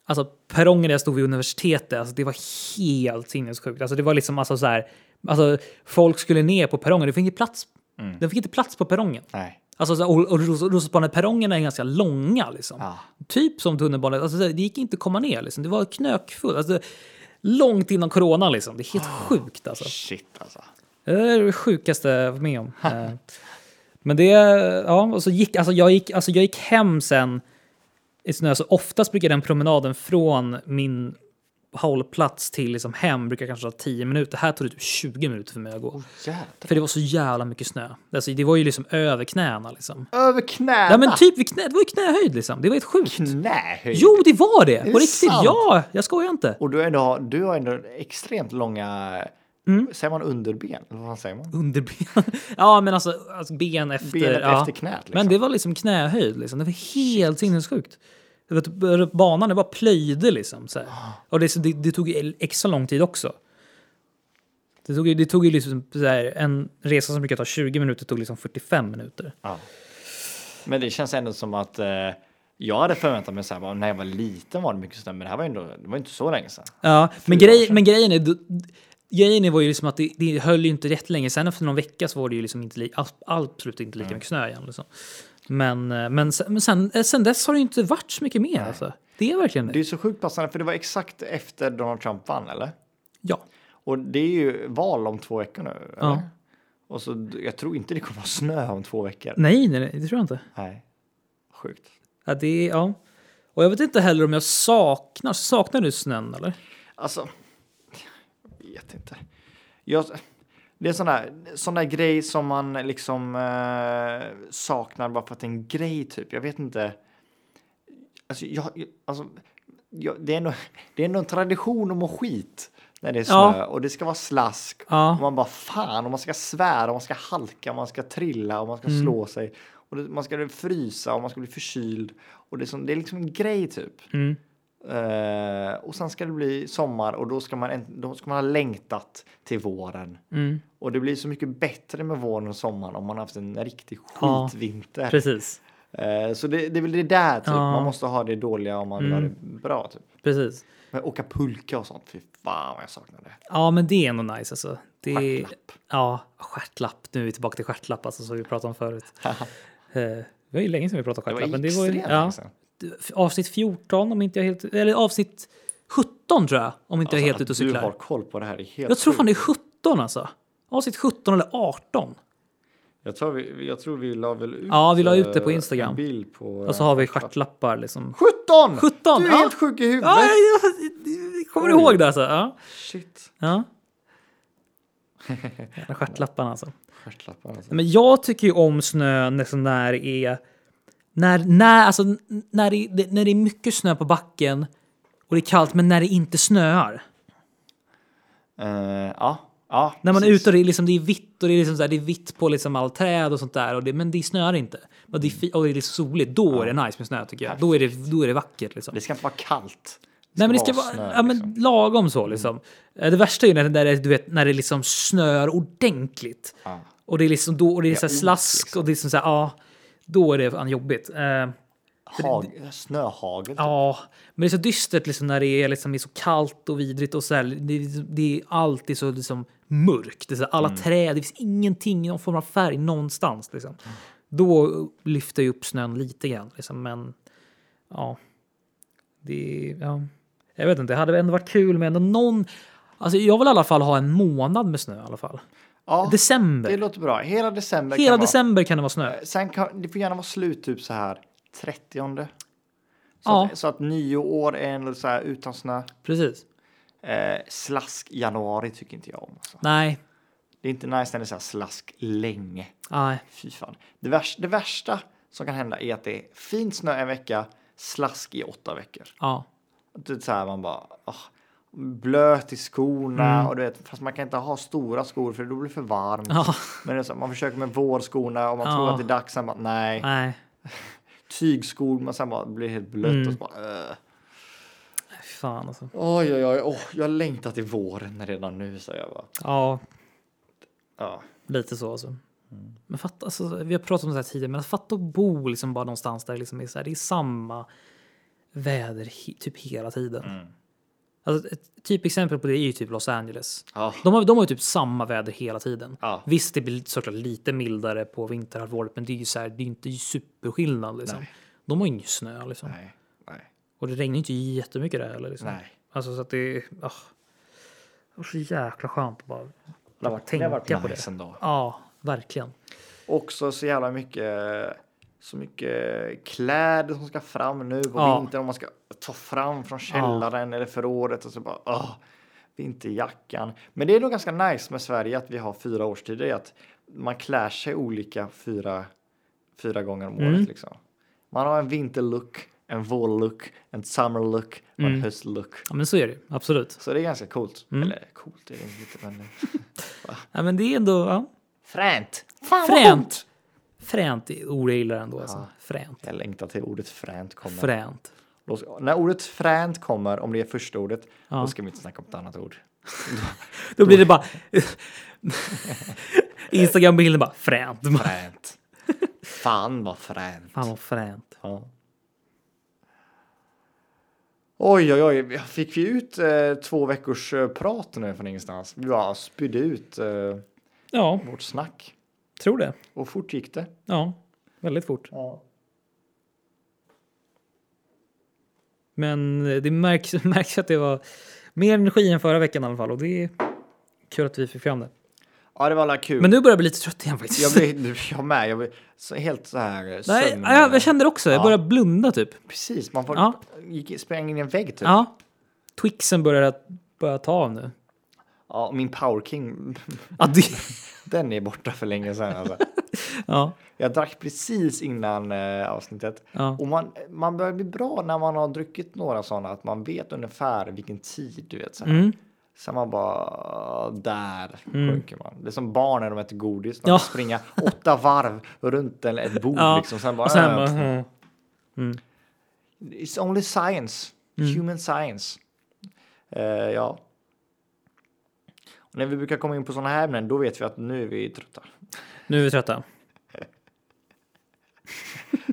Speaker 2: Alltså perrongen där jag stod vid universitetet, alltså, det var helt sinnessjukt. Alltså, det var liksom alltså, så här, alltså, folk skulle ner på perrongen, det fick inte plats. De fick inte plats på perrongen.
Speaker 3: Nej.
Speaker 2: Alltså, så här, och, och Ros- Roslagsbaneperrongerna är ganska långa. Liksom.
Speaker 3: Ja.
Speaker 2: Typ som tunnelbanan. Alltså, det gick inte att komma ner. Liksom. Det var knökfullt. Alltså, långt innan corona. Liksom. Det är helt sjukt. Alltså.
Speaker 3: Shit alltså.
Speaker 2: Det är det sjukaste jag varit med om. Eh, Men det... Ja, och så gick, alltså, jag, gick, alltså, jag gick hem sen i snö. Så oftast brukar den promenaden från min hållplats till liksom, hem brukar kanske ta 10 minuter. Här tog det typ 20 minuter för mig att gå.
Speaker 3: Jävlar.
Speaker 2: För det var så jävla mycket snö. Alltså, det var ju liksom över knäna. Liksom.
Speaker 3: Över knäna.
Speaker 2: Ja men typ vid knä, det var ju knähöjd liksom. Det var helt sjukt.
Speaker 3: Knähöjd.
Speaker 2: Jo det var det!
Speaker 3: det
Speaker 2: På riktigt,
Speaker 3: sant?
Speaker 2: ja! Jag skojar inte.
Speaker 3: Och du, är ändå, du har ändå extremt långa,
Speaker 2: Mm.
Speaker 3: säger man underben? Eller vad säger man?
Speaker 2: Underben. Ja men alltså, alltså ben efter...
Speaker 3: Benet
Speaker 2: ja.
Speaker 3: efter knät. Liksom.
Speaker 2: Men det var liksom knähöjd liksom. Det var helt sinnessjukt. Det var typ- Banan det bara plöjde liksom. Så här.
Speaker 3: Ah.
Speaker 2: Och det, det, det tog ju extra lång tid också. Det tog, ju- det tog ju liksom så här, en resa som brukar ta 20 minuter tog liksom 45 minuter.
Speaker 3: Ja. Men det känns ändå som att eh, jag hade förväntat mig så här, bara, när jag var liten var det mycket snö, men det här var ju ändå, det var inte så länge sedan.
Speaker 2: Ja, men,
Speaker 3: Fyra år
Speaker 2: grej,
Speaker 3: sedan.
Speaker 2: men grejen är... du- Grejen är var ju liksom att det, det höll ju inte rätt länge. Sen efter någon vecka så var det ju liksom inte li, ab- absolut inte lika mycket snö igen. Liksom. Men, eh, men, sen, men sen, eh, sen dess har det ju inte varit så mycket mer. Alltså. Det är verkligen det.
Speaker 3: Det är så sjukt passande, för det var exakt efter Donald Trump vann, eller?
Speaker 2: Ja.
Speaker 3: Och det är ju val om två veckor nu. Eller?
Speaker 2: Ja.
Speaker 3: Och så, jag tror inte det kommer vara snö om två veckor.
Speaker 2: Nej, nej, nej, det tror jag inte.
Speaker 3: Nej. Sjukt.
Speaker 2: Ja, det, är- ja. Och jag vet inte heller om jag saknar... Saknar du snön eller?
Speaker 3: Alltså, jag vet inte. Jag, det är sån där, sån där grej som man liksom eh, saknar bara för att det är en grej, typ. Jag vet inte. Alltså, jag, jag- alltså jag, det, är ändå, det är ändå en tradition att må skit när det är snö
Speaker 2: Ja.
Speaker 3: och det ska vara slask.
Speaker 2: Ja.
Speaker 3: Och man bara fan, och man ska svära, och man ska halka, och man ska trilla och man
Speaker 2: Mm.
Speaker 3: ska slå sig. Och det, man ska frysa och man ska bli förkyld. Och det är, som, det är liksom en grej, typ.
Speaker 2: Mm.
Speaker 3: Eh, och sen ska det bli sommar och då ska, man, en- då ska man ha längtat till våren.
Speaker 2: Mm,
Speaker 3: Och det blir så mycket bättre med våren och sommaren om man har haft en riktig
Speaker 2: Ja,
Speaker 3: skitvinter.
Speaker 2: precis.
Speaker 3: Eh, så det, det är väl det där, typ.
Speaker 2: Ja. Mm.
Speaker 3: man måste ha det dåliga om man vill ha det bra. Typ.
Speaker 2: precis.
Speaker 3: Men åka pulka och sånt, fy fan vad jag saknar det.
Speaker 2: Ja, men det är ändå nice alltså. Det är,
Speaker 3: Stjärtlapp.
Speaker 2: Ja, stjärtlapp. Nu är vi tillbaka till stjärtlapp alltså, som vi pratade om förut. Eh, det var ju länge sedan vi pratade
Speaker 3: Det
Speaker 2: om
Speaker 3: var
Speaker 2: stjärtlapp. men
Speaker 3: extremt
Speaker 2: ju-
Speaker 3: länge sedan.
Speaker 2: f- Avsnitt 14, om inte jag helt... Eller avsnitt 17 tror jag, om inte jag är helt ute och
Speaker 3: Alltså, Att du
Speaker 2: cyklar.
Speaker 3: har koll på det här är helt
Speaker 2: Jag tror fan
Speaker 3: sjukt.
Speaker 2: det är 17 alltså. Avsnitt 17 eller 18.
Speaker 3: jag tror vi, jag tror vi la väl ut,
Speaker 2: Ja, vi la ut det
Speaker 3: eh,
Speaker 2: på Instagram.
Speaker 3: en bild på...
Speaker 2: Och så har vi stjärtlappar liksom.
Speaker 3: 17!
Speaker 2: 17,
Speaker 3: Du är
Speaker 2: ja.
Speaker 3: helt sjuk i huvudet!
Speaker 2: Ja, jag, jag, jag kommer
Speaker 3: Oj.
Speaker 2: ihåg det alltså. Ja.
Speaker 3: Shit.
Speaker 2: ja. Jävla Stjärtlapparna alltså.
Speaker 3: Stjärtlappar alltså.
Speaker 2: Men jag tycker ju om snö nästan när det är... När, när, alltså, n- när, det, det- när det är mycket snö på backen och det är kallt, men när det inte snöar.
Speaker 3: Eh, ja, ja.
Speaker 2: När man är
Speaker 3: precis.
Speaker 2: ute och det är, liksom, det är vitt och det är, liksom så här, det är vitt på liksom all träd och sånt där, och det, men det snöar inte. Och det är, fi- och det är liksom soligt, då är det nice med snö tycker jag. Då är det, då är det vackert. Liksom.
Speaker 3: Det ska inte vara kallt.
Speaker 2: Nej, men det ska vara
Speaker 3: snö,
Speaker 2: ja, men
Speaker 3: liksom.
Speaker 2: lagom så. Liksom. Eh, Det värsta är ju när, det- när, det, du vet, när det liksom snör ordentligt.
Speaker 3: Ja.
Speaker 2: Och det är liksom då, och det är
Speaker 3: Ja,
Speaker 2: så här
Speaker 3: is,
Speaker 2: slask och det är liksom så här, ja, då är det fan jobbigt. Eh,
Speaker 3: Hag, snöhagel. typ.
Speaker 2: Ja, men det är så dystert liksom när det är, liksom, det är så kallt och vidrigt och så här, det, det är alltid så liksom mörkt. Det är så här, alla
Speaker 3: Mm.
Speaker 2: träd, det finns ingenting, någon form av färg någonstans. Liksom. Då lyfter ju upp snön lite grann, liksom, men ja. Det, ja. Jag vet inte, det hade ändå varit kul med ändå någon... Alltså, jag vill i alla fall ha en månad med snö i alla fall.
Speaker 3: Ja, det
Speaker 2: December.
Speaker 3: låter bra. Hela december
Speaker 2: Hela
Speaker 3: kan vara.
Speaker 2: december kan det vara snö.
Speaker 3: Sen kan, det får gärna vara slut typ så här 30. Så,
Speaker 2: Ja.
Speaker 3: att, så att nyår är en så här utan snö.
Speaker 2: Precis.
Speaker 3: Eh, slask januari tycker inte jag om. Alltså.
Speaker 2: Nej.
Speaker 3: Det är inte nice när det är så här slask länge.
Speaker 2: Nej.
Speaker 3: Fy fan. Det, värsta, det värsta som kan hända är att det är fint snö en vecka, slask i åtta veckor.
Speaker 2: Ja.
Speaker 3: Det är så här man bara... ah, blöt i skorna och du vet, fast man kan inte ha stora skor för då blir det för varmt.
Speaker 2: Mm. Ja.
Speaker 3: Men det är så, här, man försöker med vårskorna och man tror
Speaker 2: Ja.
Speaker 3: att det är dags, sen bara nej.
Speaker 2: Nej.
Speaker 3: Tygskor, men sen bara blir det helt blött
Speaker 2: Mm.
Speaker 3: och så bara... eh.
Speaker 2: Fy Fan alltså.
Speaker 3: Oj, oj, oj, åh, jag längtar till våren redan nu, säger jag bara.
Speaker 2: Ja.
Speaker 3: Ja.
Speaker 2: Lite så alltså.
Speaker 3: Mm.
Speaker 2: Men fatta, alltså, vi har pratat om det här tidigare, men att fatta att bo liksom bara någonstans där det liksom är så här, det är samma väder he, typ hela tiden.
Speaker 3: Mm.
Speaker 2: Alltså, ett typ exempel på det är ju typ Los Angeles.
Speaker 3: Ja.
Speaker 2: De har, de har ju typ samma väder hela tiden.
Speaker 3: Ja.
Speaker 2: Visst, det blir såklart lite mildare på vinterhalvåret, men det är ju så här, det är ju inte superskillnad liksom. De har ju ingen snö liksom.
Speaker 3: Nej, nej,
Speaker 2: Och det regnar ju inte jättemycket där heller. Liksom.
Speaker 3: nej.
Speaker 2: Alltså så att det är... ah. Det var så jäkla skönt att bara...
Speaker 3: Det har varit, det
Speaker 2: Tänka
Speaker 3: har varit
Speaker 2: på
Speaker 3: nice
Speaker 2: det.
Speaker 3: ändå.
Speaker 2: Ja, verkligen.
Speaker 3: Också så jävla mycket, så mycket kläder som ska fram nu på
Speaker 2: Ja.
Speaker 3: vintern. Om man ska ta fram från källaren eller förrådet och så bara åh, vinterjackan. Men det är nog ganska nice med Sverige att vi har fyra årstider. i Att man klär sig olika fyra, fyra gånger om året. Liksom. Man har en vinterlook, en vårlook, en summerlook och en höstlook.
Speaker 2: Ja, men så är det ju, absolut.
Speaker 3: Så det är ganska coolt. Eller coolt är det inte, men
Speaker 2: Ja, men det är ändå... Ja.
Speaker 3: fränt.
Speaker 2: Fränt! Fränt är ord jag gillar ändå. Alltså. Fränt.
Speaker 3: Jag längtar till ordet fränt kommer.
Speaker 2: Fränt.
Speaker 3: Då ska, när ordet fränt kommer, om det är första ordet,
Speaker 2: Ja.
Speaker 3: då ska vi inte snacka om ett annat ord.
Speaker 2: Då blir det bara... Instagram-bilden bara fränt.
Speaker 3: Fränt. Fan vad fränt.
Speaker 2: Fan vad fränt.
Speaker 3: Ja. Oj, oj, oj. Fick vi ut eh, två veckors eh, prat nu från ingenstans? Vi bara spydde ut eh,
Speaker 2: Ja,
Speaker 3: vårt snack.
Speaker 2: tror det.
Speaker 3: Och fort gick det.
Speaker 2: Ja, väldigt fort.
Speaker 3: Ja.
Speaker 2: Men eh, det märks, märks att det var mer energi än förra veckan i alla fall. Och det är kul att vi fick fram det.
Speaker 3: det var alla kul.
Speaker 2: Men nu börjar jag bli lite trött igen faktiskt.
Speaker 3: Jag blev, jag med, jag blev så, helt så här eh,
Speaker 2: Nej,
Speaker 3: sömn-
Speaker 2: jag, jag kände det också. Jag
Speaker 3: Ja.
Speaker 2: började blunda typ.
Speaker 3: Precis, man får,
Speaker 2: Ja.
Speaker 3: gick, sprang in i en vägg typ. Ja.
Speaker 2: Ja. Twixen börjar, börjar ta av nu.
Speaker 3: och min power king,
Speaker 2: Ja, det,
Speaker 3: den är borta för länge sedan alltså.
Speaker 2: ja,
Speaker 3: Jag drack precis innan eh, avsnittet.
Speaker 2: ja.
Speaker 3: Och man, man börjar bli bra när man har druckit några sådana, att man vet ungefär vilken tid, du vet. Så här.
Speaker 2: Mm.
Speaker 3: Sen man bara, "Ah, där sjunker man. Det är som barn när de äter godis, de
Speaker 2: Ja.
Speaker 3: ja. springa åtta varv runt en, ett bord
Speaker 2: Ja.
Speaker 3: liksom. Sen bara,
Speaker 2: Och sen
Speaker 3: eh,
Speaker 2: bara, mm.
Speaker 3: It's only science.
Speaker 2: Mm.
Speaker 3: Human science. Eh, ja. Och när vi brukar komma in på sådana här ämnen, då vet vi att nu är vi trötta.
Speaker 2: nu är vi trötta.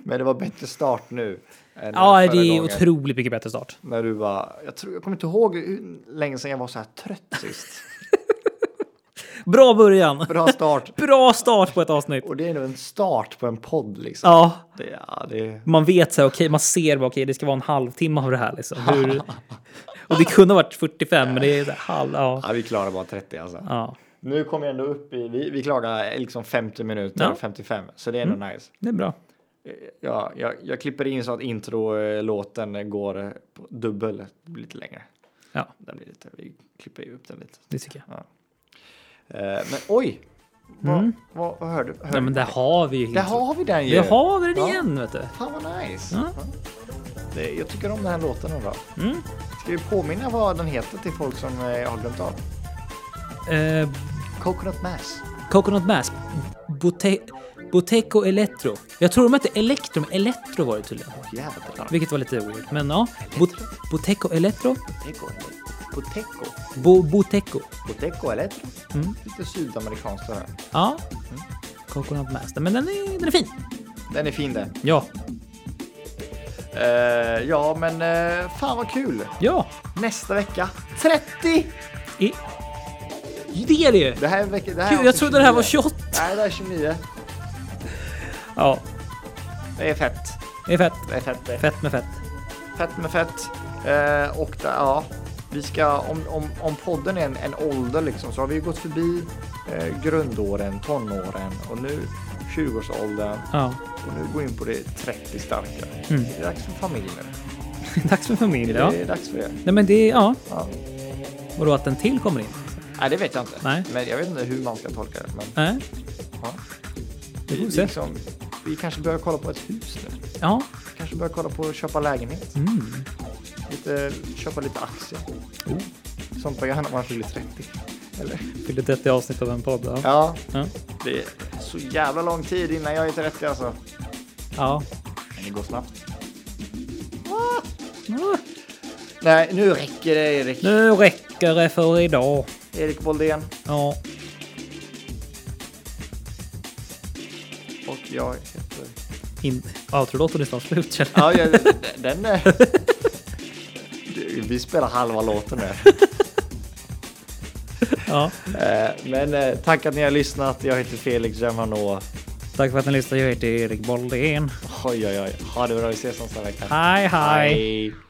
Speaker 3: Men det var bättre start nu. Än
Speaker 2: Ja,
Speaker 3: förra
Speaker 2: det är
Speaker 3: gången,
Speaker 2: otroligt mycket bättre start.
Speaker 3: När du var, jag, tror, jag kommer inte ihåg hur länge sedan jag var så här trött sist.
Speaker 2: Bra början.
Speaker 3: Bra start.
Speaker 2: Bra start på ett avsnitt.
Speaker 3: Och det är nog en start på en podd liksom.
Speaker 2: Ja,
Speaker 3: Det, ja, det,
Speaker 2: man vet så här, okej, man ser bara, okej, det ska vara en halvtimme av det här liksom. Hur, och det kunde ha varit 45, men det är så här, halv, ja.
Speaker 3: ja, vi klarar bara 30 alltså.
Speaker 2: ja.
Speaker 3: Nu kommer jag ändå upp i, vi, vi klarar liksom 50 minuter,
Speaker 2: Ja. Mm.
Speaker 3: 55. Så det är ändå nice.
Speaker 2: Det är bra.
Speaker 3: Ja, jag, jag klipper in så att introlåten går eh, på dubbel, det blir lite längre.
Speaker 2: Ja,
Speaker 3: Den blir lite, vi klipper ju upp den lite.
Speaker 2: det tycker jag.
Speaker 3: Eh, Men oj! Vad, vad, vad hör du? Hör
Speaker 2: Mm. Nej, men
Speaker 3: du?
Speaker 2: där har vi ju
Speaker 3: Där
Speaker 2: helt...
Speaker 3: har vi den ju!
Speaker 2: Där har vi den
Speaker 3: Ja.
Speaker 2: igen, vet du.
Speaker 3: Fan vad nice!
Speaker 2: Ja.
Speaker 3: Ja. Det, jag tycker om den här låten ändå.
Speaker 2: Mm.
Speaker 3: Ska vi påminna vad den heter till folk som eh, har glömt av?
Speaker 2: Eh,
Speaker 3: Coconut Mass.
Speaker 2: Coconut Mass. Bote Boteco Electro. Jag tror de hette Electro, men Electro var det tydligen.
Speaker 3: Jävlar.
Speaker 2: Vilket var lite weird. Men ja, Bot Boteco Electro.
Speaker 3: Boteco. eller? Boteco.
Speaker 2: Bo Boteco.
Speaker 3: Boteco eller?
Speaker 2: Mm.
Speaker 3: Lite sydamerikanskt det här.
Speaker 2: Ja.
Speaker 3: Mm.
Speaker 2: Coconut Master. Men den är, den är fin.
Speaker 3: Den är fin den.
Speaker 2: Ja.
Speaker 3: Eh, ja, men eh, fan vad kul.
Speaker 2: Ja,
Speaker 3: Nästa vecka 30!
Speaker 2: i, det är det ju.
Speaker 3: Det här är vecka, det här
Speaker 2: Gud,
Speaker 3: är
Speaker 2: jag trodde det här var
Speaker 3: 29.
Speaker 2: 28.
Speaker 3: Nej, det här är 29.
Speaker 2: Ja,
Speaker 3: Det är fett.
Speaker 2: det är fett.
Speaker 3: Det är fett. Det är fett.
Speaker 2: Fett med fett.
Speaker 3: fett med fett. Eh, och det, ja, vi ska, om, om, om podden är en, en ålder liksom, så har vi ju gått förbi eh, grundåren, tonåren och nu 20-årsåldern.
Speaker 2: Ja,
Speaker 3: Och nu går vi in på det 30 starka. Det är dags för familjen.
Speaker 2: dags för familj.
Speaker 3: Det
Speaker 2: Ja.
Speaker 3: är dags för det.
Speaker 2: Nej, men det är, ja.
Speaker 3: Ja.
Speaker 2: Och då att en till kommer in.
Speaker 3: Nej, det vet jag inte.
Speaker 2: Nej.
Speaker 3: Men jag vet inte hur man ska tolka det. Men,
Speaker 2: Nej,
Speaker 3: ja.
Speaker 2: det får vi
Speaker 3: Vi-
Speaker 2: se.
Speaker 3: liksom, vi kanske börjar kolla på ett hus nu.
Speaker 2: Ja,
Speaker 3: Kanske börja kolla på att köpa lägenhet. Lite, köpa lite aktier. Oh. Sånt man gör när man fyller 30. Eller?
Speaker 2: fyllde 30 avsnitt av en podd. Ja.
Speaker 3: Ja,
Speaker 2: Ja.
Speaker 3: det är så jävla lång tid innan jag är 30 alltså.
Speaker 2: ja.
Speaker 3: Men det går snabbt. Nej, nu räcker det Erik.
Speaker 2: Nu räcker det för idag.
Speaker 3: Erik Boldén
Speaker 2: Ja,
Speaker 3: och jag heter...
Speaker 2: in... Outrolåten är snart slut känner jag.
Speaker 3: Ja, jag, den är... Du, Vi spelar halva låten nu.
Speaker 2: Ja.
Speaker 3: Eh, Men eh, tack att ni har lyssnat. Jag heter Felix Zemmanå.
Speaker 2: Tack för att ni lyssnade. Jag heter Erik Boldén.
Speaker 3: Oj, oj, oj. Ha det bra. Vi ses nästa vecka.
Speaker 2: Hej, hej.
Speaker 3: Hej.